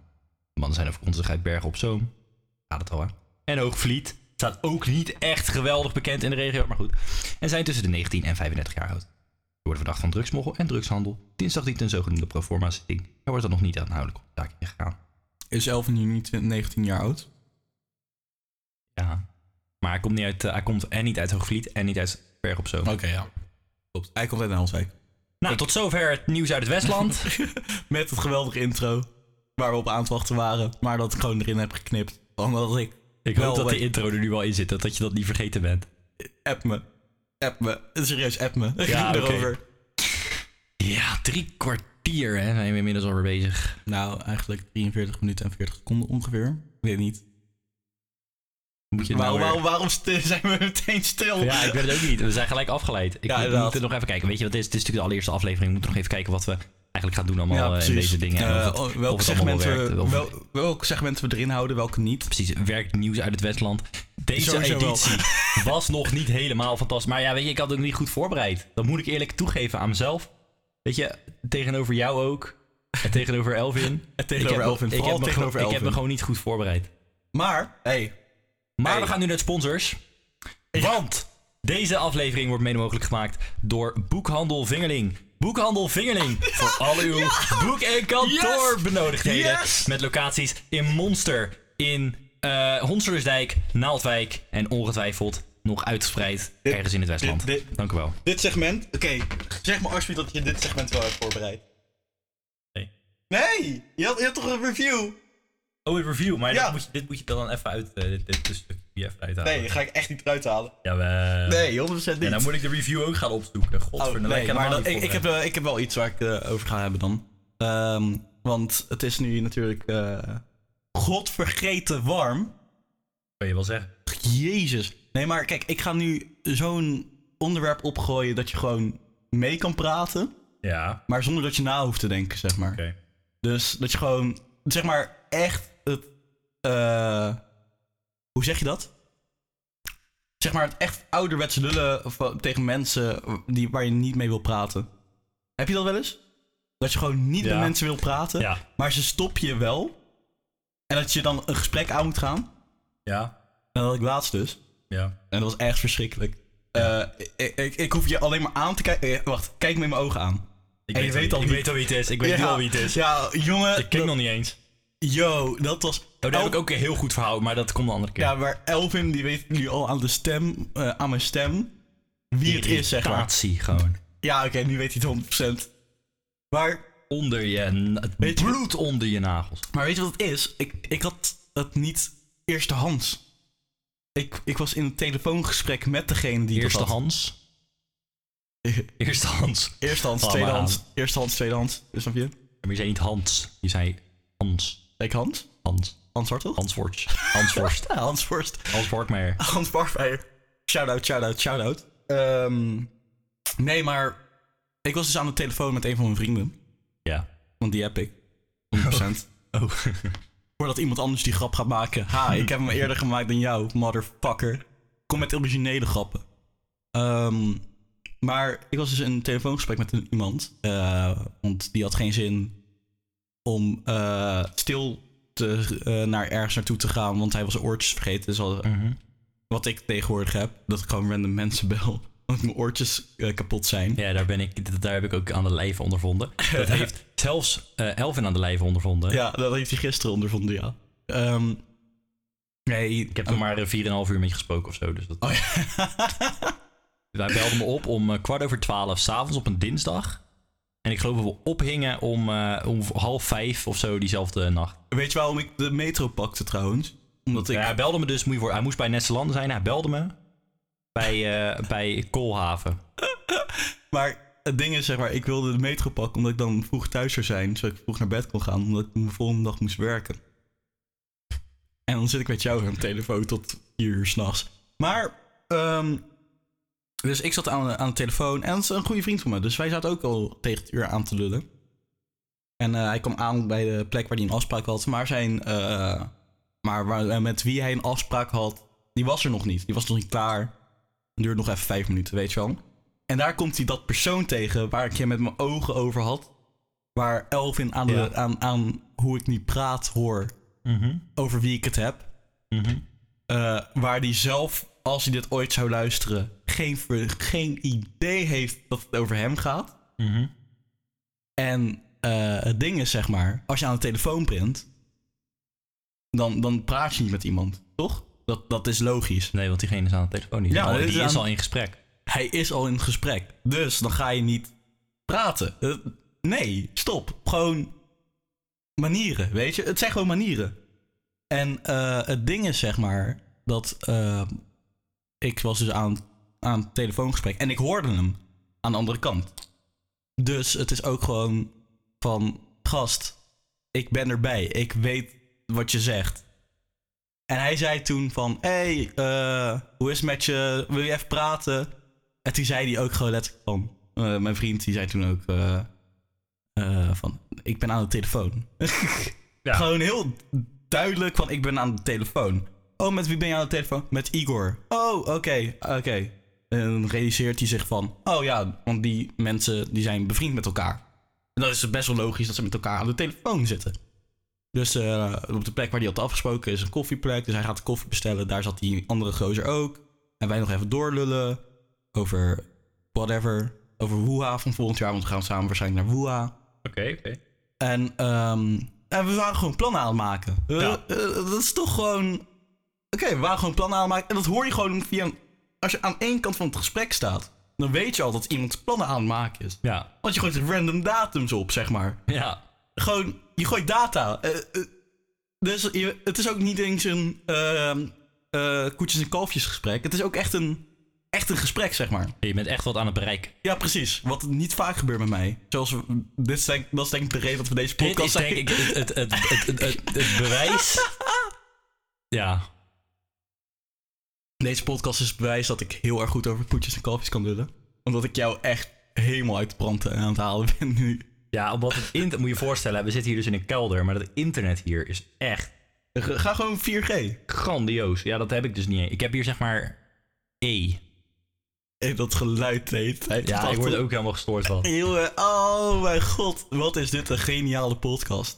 De mannen zijn afkomstig uit Bergen op Zoom. Gaat het al hè? En Hoogvliet staat ook niet echt geweldig bekend in de regio, maar goed. En zijn tussen de 19 en 35 jaar oud. Ze worden verdacht van drugsmoggel en drugshandel. Dinsdag dient een zogenoemde proforma zitting. Er wordt dan nog niet aanhoudelijk op de zaak ingegaan. Is Elvin nu niet 19 jaar oud? Ja. Maar hij komt, niet uit, eh, hij komt en niet uit Hoogvliet en niet uit Bergen op Zoom. Oké, ja. Klopt. Hij komt uit Naaldwijk. Nou, tot zover het nieuws uit het Westland. [LAUGHS] Met het geweldige intro. Waar we op aan het wachten waren. Maar dat ik gewoon erin heb geknipt. Omdat ik... [LAUGHS] Ik Wel, hoop dat eh, de intro er nu al in zit, dat- dat je dat niet vergeten bent. App me. App me. Serieus, app me. [LAUGHS] Ja, oké. Erover. Ja, drie kwartier hè, zijn we inmiddels alweer bezig. Nou, eigenlijk 43 minuten en 40 seconden ongeveer. Ik weet niet. Moet je het nou Waarom, weer- waarom, waarom st- [LAUGHS] zijn we meteen stil? Ja, ik weet het ook [LAUGHS] niet. We zijn gelijk afgeleid. Ik Ja, we inderdaad. moeten nog even kijken. Weet je wat het is? Het is natuurlijk de allereerste aflevering. We moeten nog even kijken wat we eigenlijk gaan doen allemaal Ja, eh, in deze dingen. En Eh, of het- oh, of welke, het allemaal segmenten werkt, we, of- wel- welke segmenten we erin houden, welke niet. Precies, werkt nieuws uit het Westland. Deze Sowieso wel. [LAUGHS] editie was nog niet helemaal fantastisch. Maar ja, weet je, ik had het ook niet goed voorbereid. Dat moet ik eerlijk toegeven aan mezelf. Weet je, tegenover jou ook. En tegenover Elvin. [LAUGHS] En tegenover ik heb, Elvin, Ik vooral heb, me, tegenover gewoon- ik heb Elvin. me gewoon niet goed voorbereid. Maar, hey, Maar Hey. we gaan nu naar de sponsors. Want Deze aflevering wordt mede mogelijk gemaakt door Boekhandel Vingerling. Boekhandel Vingerling voor [LAUGHS] al uw boek- en kantoorbenodigdheden. Yes! Met locaties in Monster, in eh Honsersdijk, Naaldwijk en ongetwijfeld nog uitgespreid ergens in het Westland. dit- dit- Dank u wel. Dit segment? Oké, zeg maar alsjeblieft dat je dit segment wel hebt voorbereid. Nee. Nee! Je had, je had toch een review? Oh, een review. Maar Ja. dit, moet je, dit moet je dan even uit. eh, dit, dit tussenstukje even uithalen. Nee, dat ga ik echt niet eruit halen. Jawel. Nee, 100% niet. En dan moet ik de review ook gaan opzoeken. Oh, Godverdomme. nee, kan maar helemaal dat- niet ik, ik, heb, voorbereid. eh, ik heb wel iets waar ik eh, over ga hebben dan. Ehm, want het is nu natuurlijk eh, godvergeten warm. Kan je wel zeggen. Jezus. Nee, maar kijk, ik ga nu zo'n onderwerp opgooien dat je gewoon mee kan praten. Ja, Maar zonder dat je na hoeft te denken, zeg maar. oké. Dus dat je gewoon, zeg maar, echt het. eh, hoe zeg je dat? Zeg maar, het echt ouderwets lullen van- tegen mensen die, waar je niet mee wil praten. Heb je dat wel eens? Dat je gewoon niet Ja. met mensen wil praten, Ja. maar ze stop je wel. En dat je dan een gesprek aan moet gaan. Ja, Dat had ik laatst dus. ja. En dat was echt verschrikkelijk. Eh, ik, ik, ik hoef je alleen maar aan te kijken. eh, Wacht, kijk me in mijn ogen aan. Ik, En je weet al ik wie- weet al wie het is. Ik weet nu ja, al wie het is. Ja, jongen. Ik ken nog niet eens. Oh, Yo, dat was. daar elk- heb ik ook een heel goed verhaal, maar dat komt een andere keer. Ja, maar Elvin die weet nu al aan de stem, eh, aan mijn stem, wie het is, zeg maar. Irritatie gewoon. Ja, oké, nu weet hij het 100%. Maar, Onder je... na- Het Weet je- bloed onder je nagels. maar weet je wat het is? Ik, ik had het niet eerstehands. Ik, ik was in een telefoongesprek met degene die Eerste dat had. Hans. Eerste Hans. [LAUGHS] Eerstehands, Laat maar tweedehands, eerstehands, tweedehands, Dus snap je? Maar je zei niet Hans. Je zei Hans. Kijk, Hans. Hans. Hans Hartog. Hans Worst. Hans Worst. Ja, Hans Forst. Hans Wortmeijer. Hans Barfeijer. Shout-out, shout-out, shout-out. Ehm, nee, maar ik was dus aan de telefoon met een van mijn vrienden. Ja. Want die heb ik. 100%. Oh. [LAUGHS] Voordat iemand anders die grap gaat maken. Ha, ik heb hem eerder gemaakt dan jou, motherfucker. Kom met originele grappen. Ehm, maar ik was dus in een telefoongesprek met een- iemand. eh, want die had geen zin om eh, stil te, eh, naar ergens naartoe te gaan. Want hij was zijn oortjes vergeten. Dus al- wat ik tegenwoordig heb, dat ik gewoon random mensen [LAUGHS] bel. Omdat mijn oortjes eh, kapot zijn. Ja, daar, ben ik, dat- daar heb ik ook aan de lijve ondervonden. [LAUGHS] Dat heeft zelfs eh Elvin aan de lijve ondervonden. Ja, dat heeft hij gisteren ondervonden, ja. Ehm, nee, Ik heb er maar eh, 4,5 uur mee gesproken of zo. Dus dat... Oh, [LAUGHS] ja. Wij belden me op om eh, kwart over twaalf s'avonds op een dinsdag. En ik geloof dat we ophingen om, eh, om half vijf of zo diezelfde nacht. Weet je waarom ik de metro pakte trouwens? Omdat ik... Ja, hij belde me dus, moet je voor, hij moest bij Nesselanden zijn. Hij belde me bij, eh, bij Koolhaven. Maar het ding is, zeg maar, ik wilde de metro pakken omdat ik dan vroeg thuis zou zijn. Zodat ik vroeg naar bed kon gaan, omdat ik de volgende dag moest werken. En dan zit ik met jou aan de telefoon tot vier uur s'nachts. Maar, ehm, dus ik zat aan, aan de telefoon en dat is een goede vriend van me. Dus wij zaten ook al tegen het uur aan te lullen. En eh, hij kwam aan bij de plek waar hij een afspraak had. Maar, zijn, eh, maar waar, met wie hij een afspraak had, die was er nog niet. Die was nog niet klaar. Het duurde nog even vijf minuten, weet je wel. En daar komt hij dat persoon tegen waar ik je met mijn ogen over had. Waar Elvin aan, de, Ja. aan, aan hoe ik nu praat hoor over wie ik het heb. Mhm. Eh, waar die zelf, als hij dit ooit zou luisteren, geen, ver- geen idee heeft dat het over hem gaat. Mhm. En eh, het ding is, zeg maar, als je aan de telefoon print, dan, dan praat je niet met iemand, toch? Dat, dat is logisch. Nee, want diegene is aan de telefoon niet. Ja, Ja, die dit is is aan- al in gesprek. Hij is al in het gesprek, dus dan ga je niet praten. Eh, nee, stop. Gewoon manieren, weet je? Het zijn gewoon manieren. En eh, het ding is, zeg maar, dat eh, ik was dus aan, aan het telefoongesprek en ik hoorde hem aan de andere kant. Dus het is ook gewoon van, gast, ik ben erbij. Ik weet wat je zegt. En hij zei toen van, hey, eh, hoe is het met je? Wil je even praten? En toen zei hij ook gewoon letterlijk van, eh, mijn vriend die zei toen ook eh, eh, van, ik ben aan de telefoon. Ja. [LAUGHS] Gewoon heel duidelijk van, ik ben aan de telefoon. Oh, met wie ben je aan de telefoon? Met Igor. Oh, oké, oké. En dan realiseert hij zich van, oh ja, want die mensen die zijn bevriend met elkaar. En dan is het best wel logisch dat ze met elkaar aan de telefoon zitten. Dus eh, op de plek waar hij had afgesproken is een koffieplek. Dus hij gaat koffie bestellen. Daar zat die andere gozer ook. En wij nog even doorlullen. over whatever. Over Woeha van volgend jaar, want we gaan samen waarschijnlijk naar Woeha. Oké, En, ehm, en we waren gewoon plannen aan het maken. Eh, Ja. eh, dat is toch gewoon... Oké, we waren gewoon plannen aan het maken. En dat hoor je gewoon via... een- Als je aan één kant van het gesprek staat, dan weet je al dat iemand plannen aan het maken is. Ja. Want je gooit random datums op, zeg maar. Ja. Gewoon, je gooit data. Eh, eh, dus je- het is ook niet eens een ehm, eh, koetjes en kalfjes gesprek. Het is ook echt een, echt een gesprek, zeg maar. Je bent echt wat aan het bereiken. Ja, precies. Wat niet vaak gebeurt met mij. Zoals we, dit is denk, dat is denk ik de reden dat we deze Dit is podcast denk ik het, het, het, het, het, het- het bewijs. [LAUGHS] Ja. Deze podcast is het bewijs dat ik heel erg goed over koetjes en kalfjes kan lullen. Omdat ik jou echt helemaal uit de brand eh, aan het halen ben nu. Ja, omdat het internet... Moet je je voorstellen, we zitten hier dus in een kelder. Maar het internet hier is echt Ga gewoon 4G. grandioos. Ja, dat heb ik dus niet. Ik heb hier zeg maar E. En dat geluid de hele tijd. Ja, ik Dat- word ook helemaal gestoord [LAUGHS] van. Jongen, oh mijn god. Wat is dit een geniale podcast.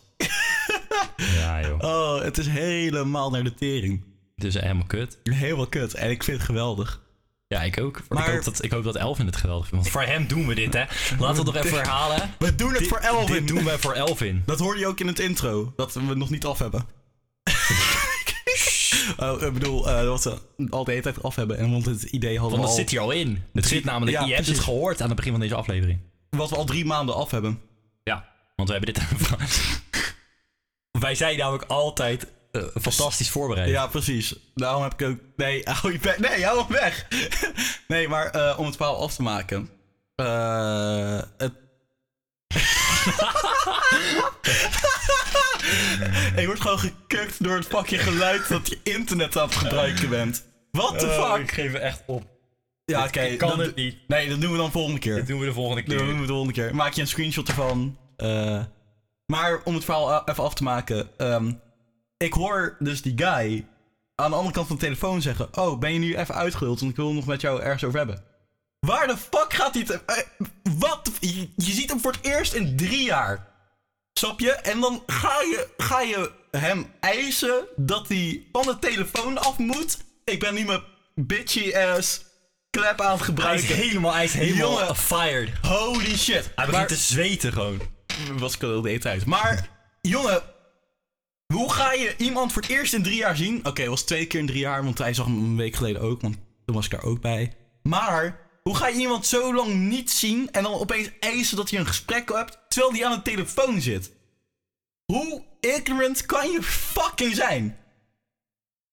Ja, joh. Oh, het is helemaal naar de tering. Het is helemaal kut. Helemaal kut. En ik vind het geweldig. Ja, ik ook. Maar- Ik, hoop dat, ik hoop dat Elvin het geweldig vindt. Want voor hem doen we dit, hè. Laten we het nog even herhalen. We doen het Dit- voor Elvin. Dit doen wij voor Elvin. Dat hoor je ook in het intro. Dat we het nog niet af [LAUGHS] hebben. Oh, ik bedoel, eh, dat we al de hele tijd af hebben. En want het idee hadden Want dat we al... zit hier al in. Het zit namelijk... Ja, je hebt het precies. gehoord aan het begin van deze aflevering. Wat we al drie maanden af hebben. Ja, want we hebben dit [LAUGHS] aan Wij zijn namelijk altijd eh, fantastisch voorbereid. Ja, precies. Daarom heb ik ook... Nee, [LAUGHS] hou je weg. Nee, hou hem weg. [LAUGHS] nee, maar eh, om het verhaal af te maken. Eh, het... [LAUGHS] ik word gewoon gekukt door het pakje geluid dat je internet aan het gebruiken bent. What the fuck? Oh, geef er echt op. ja, oké. ik kan dan- het niet. Nee, dat doen we dan volgende keer. Dat doen we de volgende Dat doen keer. we de volgende keer. Maak je een screenshot ervan. Eh, maar om het verhaal a- even af te maken. ehm, ik hoor dus die guy aan de andere kant van de telefoon zeggen... Oh, ben je nu even uitgehuld? Want ik wil het nog met jou ergens over hebben. Waar de fuck gaat hij... te- eh, wat? Je, je ziet hem voor het eerst in drie jaar. Snap je? En dan ga je, ga je hem eisen dat hij van de telefoon af moet. Ik ben nu mijn bitchy ass klep aan Hij het is gebruiken. helemaal, hij is helemaal Jongen. fired. Hij Holy shit. begint te zweten gewoon. was ik al de hele tijd. Maar, jongen, hoe ga je iemand voor het eerst in drie jaar zien? Oké, het was twee keer in drie jaar, want hij zag hem een week geleden ook, want toen was ik daar ook bij. Maar, hoe ga je iemand zo lang niet zien en dan opeens eisen dat je een gesprek hebt, terwijl die aan de telefoon zit? Hoe ignorant kan je fucking zijn?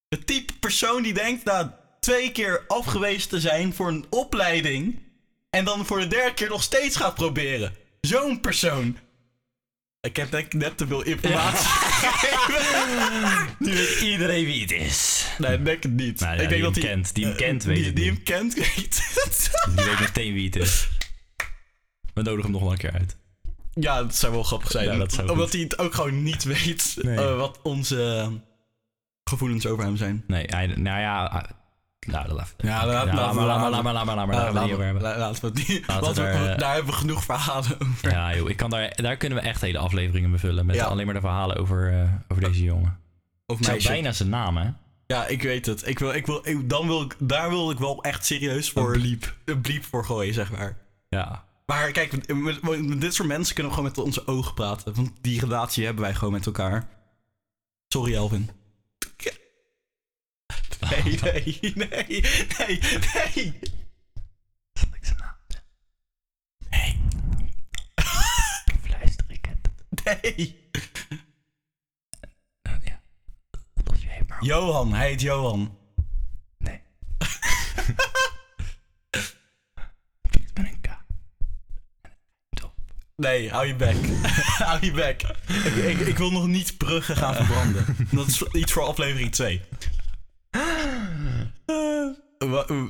Het type persoon die denkt na twee keer afgewezen te zijn voor een opleiding en dan voor de derde keer nog steeds gaat proberen. Zo'n persoon. Ik heb denk ik net te veel informatie. Nu weet iedereen wie het is. Nee, ik denk het niet. Nou ja, die ik denk dat hem hij- kent. Die hem eh, kent, weet die, het die niet. hem kent, [LAUGHS] weet het. Je weet meteen wie het is. We nodigen hem nog wel een keer uit. ja, dat zou wel grappig zijn. Ja, dat zou Omdat goed. hij het ook gewoon niet weet Nee. eh, wat onze gevoelens over hem zijn. Nee, hij, nou ja... ah, Nou, dat laat Ja, laat- maar. laat- Laat maar, laat maar, laat- laat maar, laat maar, laat maar. Eh, Laten we het niet over hebben. laten, we, la- laten we het niet. Laten we want we- daar, eh, daar hebben we genoeg verhalen over. Ja joh, ik kan daar, daar kunnen we echt hele afleveringen bevullen. Met Ja. alleen maar de verhalen over, eh, over deze jongen. Of Ik zou meisje. bijna zijn naam, hè? Ja, ik weet het. Ik wil, ik wil, ik- dan wil ik, daar wil ik wel echt serieus voor. Een bliep voor gooien, zeg maar. Ja. Maar kijk, met, met- met dit soort mensen kunnen we gewoon met onze ogen praten. Want die relatie hebben wij gewoon met elkaar. Sorry, Elvin. [LAUGHS] Nee, nee, nee, nee, nee. Zal ik zijn naam zeggen? [LAUGHS] Hey. Fluister ik het? nee. Nou, ja. Los je heen maar op. Johan, hij heet Johan. Nee. [LAUGHS] ik ben een K. Top. Nee, hou je bek. [LAUGHS] hou je bek. Ik, ik, ik wil nog niet bruggen gaan verbranden. Dat is iets voor aflevering 2.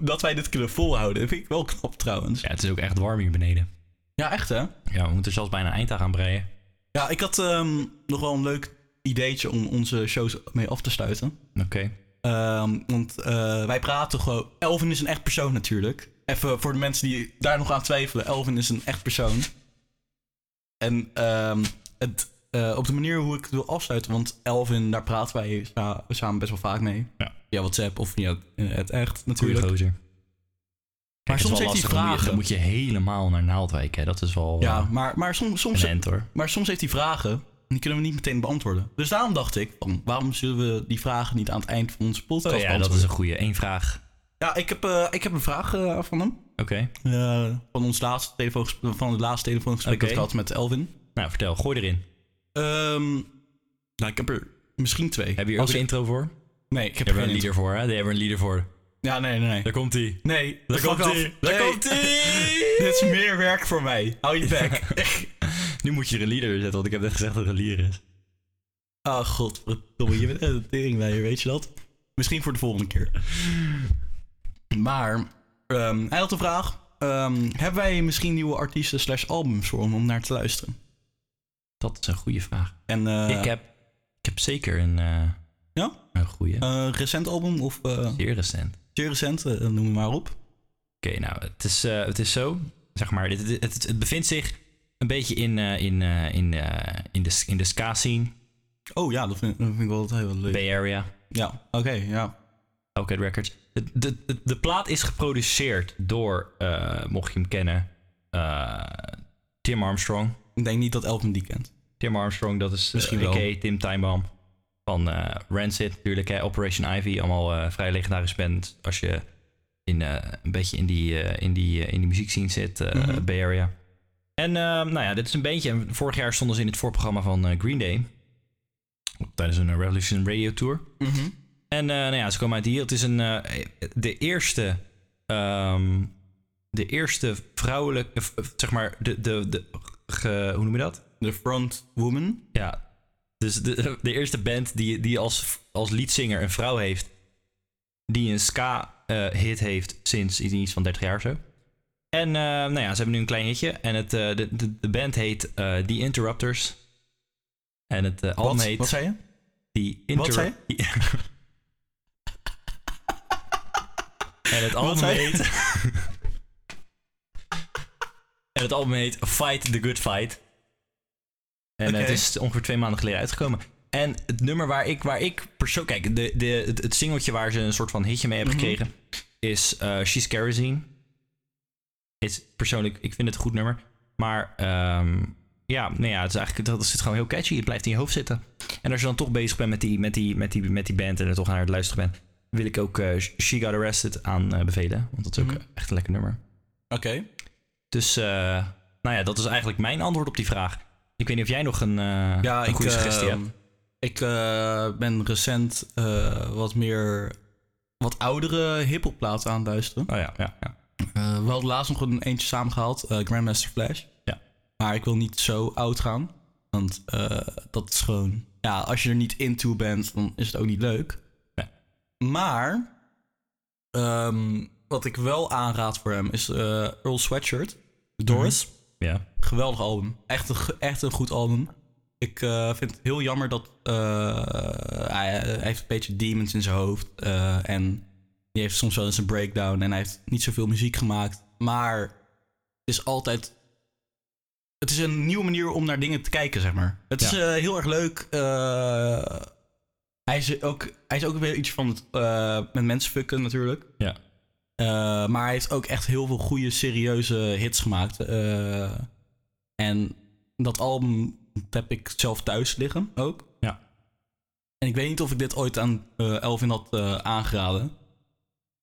dat wij dit kunnen volhouden, vind ik wel knap trouwens. Ja, het is ook echt warm hier beneden. Ja, echt hè? Ja, we moeten zelfs bijna een eind aan gaan breien. Ja, ik had ehm, nog wel een leuk ideetje om onze shows mee af te sluiten. Oké. Ehm, want eh, wij praten gewoon... Elvin is een echt persoon natuurlijk. Even voor de mensen die daar nog aan twijfelen. Elvin is een echt persoon. En ehm, het, eh, op de manier hoe ik het wil afsluiten... Want Elvin, daar praten wij sa- samen best wel vaak mee. Ja. Via WhatsApp of via het echt Goeie natuurlijk. gozer. maar soms heeft hij vragen. Dan moet je helemaal naar Naaldwijk, hè. Dat is wel Ja, ja, Oh, maar, maar, soms, soms, een end, hoor. maar soms heeft hij vragen. en Die kunnen we niet meteen beantwoorden. Dus daarom dacht ik, van, waarom zullen we die vragen niet aan het eind van onze podcast Oh ja, dat beantwoorden? is een goede. Eén vraag. Ja, ik heb, eh, ik heb een vraag eh, van hem. Oké. Eh, van, ons laatste telefoongesprek, van het laatste telefoongesprek Oké. dat ik had met Elvin. Nou, vertel. Gooi erin. Ehm, nou, ik heb er misschien twee. Heb je hier ook Als een ik- intro voor? Nee, ik heb Daar er hebben we geen een leader voor, hè. Daar hebben we een leader voor. Ja, nee, nee, nee. Daar komt hij. Nee, Daar fuck komt off. hij. Daar Nee. komt hij. [LAUGHS] Dit is meer werk voor mij. Hou je bek. Nu moet je er een leader in zetten, want ik heb net gezegd dat er een leader is. Oh, godverdomme. Je bent echt een teringleier, weet je dat? Misschien voor de volgende keer. Maar, ehm, hij had een vraag. Ehm, hebben wij misschien nieuwe artiesten slash albums voor hem om naar te luisteren? Dat is een goede vraag. En, eh, Ik, heb, ik heb zeker een, eh, Ja? een goede. Eh, recent album of eh Zeer recent. zeer recent, eh, noem het maar op. Oké, nou, het is, eh, het is zo. Zeg maar, het, het, het, het bevindt zich een beetje in, eh, in, eh, in, eh, in, de, in de ska-scene, Oh ja, dat vind, dat vind ik wel altijd heel leuk. Bay Area, Ja, oké, ja. Outcast Records. De, de, de, de plaat is geproduceerd door, eh, mocht je hem kennen, eh, Tim Armstrong. Ik denk niet dat Elvin die kent. Tim Armstrong, dat is eh, Misschien Misschien wel. Tim Timebomb van eh, Rancid natuurlijk. Hè? Operation Ivy, allemaal eh, vrij legendarisch band. Als je in, eh, een beetje in die, eh, in die, eh, in die muziekscene zit, eh Mhm. Bay Area. En eh, nou ja, dit is een bandje. En vorig jaar stonden ze in het voorprogramma van eh, Green Day. Tijdens een eh, Revolution Radio Tour. Mhm. En eh, nou ja, ze komen uit hier. Het is een, eh, de eerste. ehm, de eerste vrouwelijke. eh, Zeg maar, de. de, de ge- hoe noem je dat? De front woman. Ja. Dus de, [LAUGHS] de eerste band die, die als, als leadzanger een vrouw heeft. die een ska-hit heeft sinds iets van 30 jaar of zo. En eh, nou ja, ze hebben nu een klein hitje. En het, eh, de, de, de band heet eh The Interrupters. En het eh album Wat, heet wat zei je? The wat zei Interrupters. [LAUGHS] en het album zei je? heet. [LAUGHS] en het album heet Fight the Good Fight. En eh, Oké. het is ongeveer twee maanden geleden uitgekomen. En het nummer waar ik, waar ik persoonlijk... Kijk, de, de, het, het singeltje waar ze een soort van hitje mee hebben Mhm. gekregen... is eh, She's Kerosene. Is persoonlijk, ik vind het een goed nummer. Maar ehm, ja, nou ja, het is eigenlijk, dat zit gewoon heel catchy. Het blijft in je hoofd zitten. En als je dan toch bezig bent met die, met die, met die, met die band... en er toch naar het luisteren bent... wil ik ook eh, She Got Arrested aan eh, bevelen. Want dat is ook Mhm. eh, echt een lekker nummer. Oké. Dus, eh, nou ja, dat is eigenlijk mijn antwoord op die vraag. Ik weet niet of jij nog een, eh, Ja, een ik, goede suggestie ehm, hebt. ik eh, ben recent eh, wat meer, wat oudere hip-hop platen aan het luisteren. Oh ja, ja, ja. Eh, we hadden laatst nog een eentje samengehaald, eh, Grandmaster Flash. Ja. Maar ik wil niet zo oud gaan, want eh, dat is gewoon, ja, als je er niet into bent, dan is het ook niet leuk. Nee. Maar, ehm, wat ik wel aanraad voor hem is eh, Earl Sweatshirt, Mhm. Doris. ja. Geweldig album. Echt een, ge- echt een goed album. Ik eh, vind het heel jammer dat eh, hij, hij heeft een beetje demons in zijn hoofd. eh, en die heeft soms wel eens een breakdown. En hij heeft niet zoveel muziek gemaakt. Maar het is altijd... Het is een nieuwe manier om naar dingen te kijken, zeg maar. Het is eh, heel erg leuk. eh, hij, is ook, hij is ook weer iets van het, eh, met mensen fucken natuurlijk. Ja. Eh, maar hij heeft ook echt heel veel goede, serieuze hits gemaakt. Eh, en dat album heb ik zelf thuis liggen ook. Ja. En ik weet niet of ik dit ooit aan eh, Elvin had eh, aangeraden.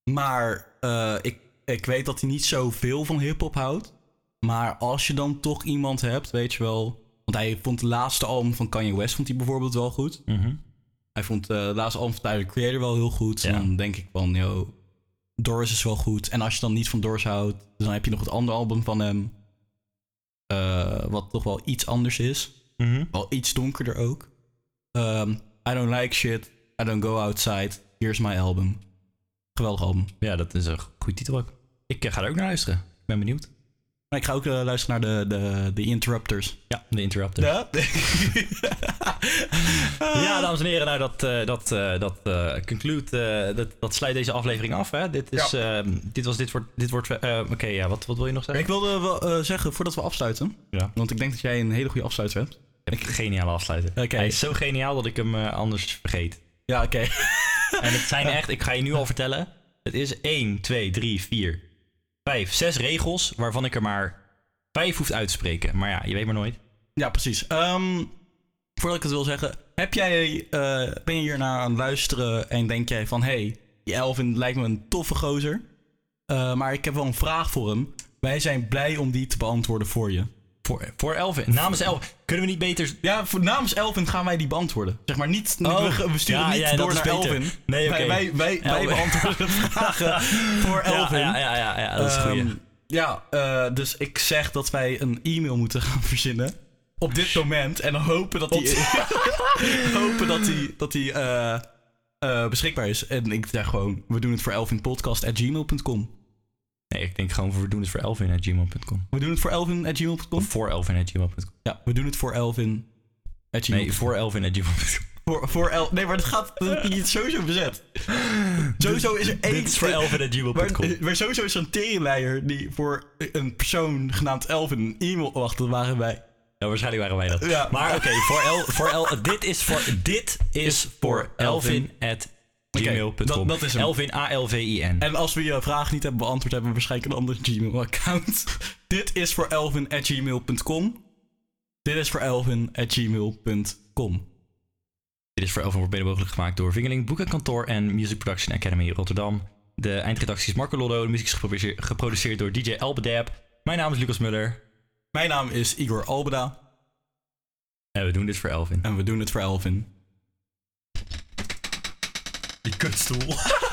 Maar eh, ik, ik weet dat hij niet zoveel van hip-hop houdt. Maar als je dan toch iemand hebt, weet je wel. Want hij vond de laatste album van Kanye West vond hij bijvoorbeeld wel goed. Mhm. Hij vond eh, de laatste album van Tyler the Creator wel heel goed. En Ja. dan denk ik van, yo, Doris is wel goed. En als je dan niet van Doris houdt, dan heb je nog het andere album van hem. eh, wat toch wel iets anders is. Mhm. Wel iets donkerder ook. Ehm, I don't like shit. I don't go outside. Here's my album. Geweldig album. Ja, dat is een goed titel ook. Ik eh, ga er ook naar luisteren. Ik ben benieuwd. Maar ik ga ook eh, luisteren naar de, de, de Interrupters. Ja, de Interrupter. Ja. [LAUGHS] Ja, dames en heren, nou dat, eh, dat, eh, dat eh, conclude, eh, dat, dat sluit deze aflevering af. Hè? Dit, is, ehm, dit was dit wordt, dit wordt eh, oké, ja, wat, wat wil je nog ik zeggen? wilde wel eh, zeggen, voordat we afsluiten. Ja. Want ik denk dat jij een hele goede afsluiter hebt. Ik heb een geniale afsluiten. Oké. Hij is zo geniaal dat ik hem eh, anders vergeet. Ja, oké. [LAUGHS] En het zijn echt, ik ga je nu al vertellen, het is 1, 2, 3, 4, Vijf, zes regels waarvan ik er maar vijf hoef uit te spreken. Maar ja, je weet maar nooit. Ja, precies. Ehm, voordat ik het wil zeggen, heb jij, eh, ben je hiernaar aan het luisteren en denk jij van, hey, die Elvin lijkt me een toffe gozer, eh, maar ik heb wel een vraag voor hem. Wij zijn blij om die te beantwoorden voor je. Voor, voor Elvin. Namens Elvin. Kunnen we niet beter... Ja, voor, namens Elvin gaan wij die beantwoorden. Zeg maar niet, we, we sturen Oh. ja, niet ja, dat door is naar beter. Elvin. Nee, oké. Wij, wij, wij, wij Elvin. [LAUGHS] beantwoorden de vragen voor Elvin. Ja, ja, ja, ja, ja, dat is goed. Ehm, ja, eh, dus ik zeg dat wij een e-mail moeten [LAUGHS] gaan verzinnen. Op dit moment. En dan hopen dat die. [LAUGHS] hopen dat die, dat die eh, eh, beschikbaar is. En ik zeg gewoon: we doen het voor elvinpodcast.gmail.com. Nee, ik denk gewoon voor we doen het voor Elvin at gmail.com. We doen het voor elvin.gmail.com. Of voor Elvin at gmail.com. Ja, we doen het voor elvin. at gmail. Nee, voor Elvin at gmail.com. voor, voor El- nee, maar dat gaat. Dat is sowieso bezet. Sowieso is er één. [LAUGHS] Dit is voor Elvin at Maar, gmail.com. eh, maar sowieso is er een teringleier die voor een persoon genaamd Elvin een e-mail. Wacht, dat waren wij. Ja, waarschijnlijk waren wij dat. Ja. Maar oké, voor El, voor El, dit is voor, dit is voor Elvin at gmail.com. dat- dat is hem. Elvin, A-L-V-I-N. En als we je vraag niet hebben beantwoord, hebben we waarschijnlijk een ander Gmail-account. [LAUGHS] Dit is voor elvin.gmail.com. Dit is voor elvin.gmail.com. Dit is voor Elvin wordt mede mogelijk gemaakt door Vingeling, Boekenkantoor en Music Production Academy Rotterdam. De eindredactie is Marco Loddo, de muziek is geproduce- geproduceerd door DJ Elbedab. Mijn naam is Lucas Muller Mijn naam is Igor Albeda en we doen dit voor Elvin. en we doen het voor Elvin. Die kutstoel.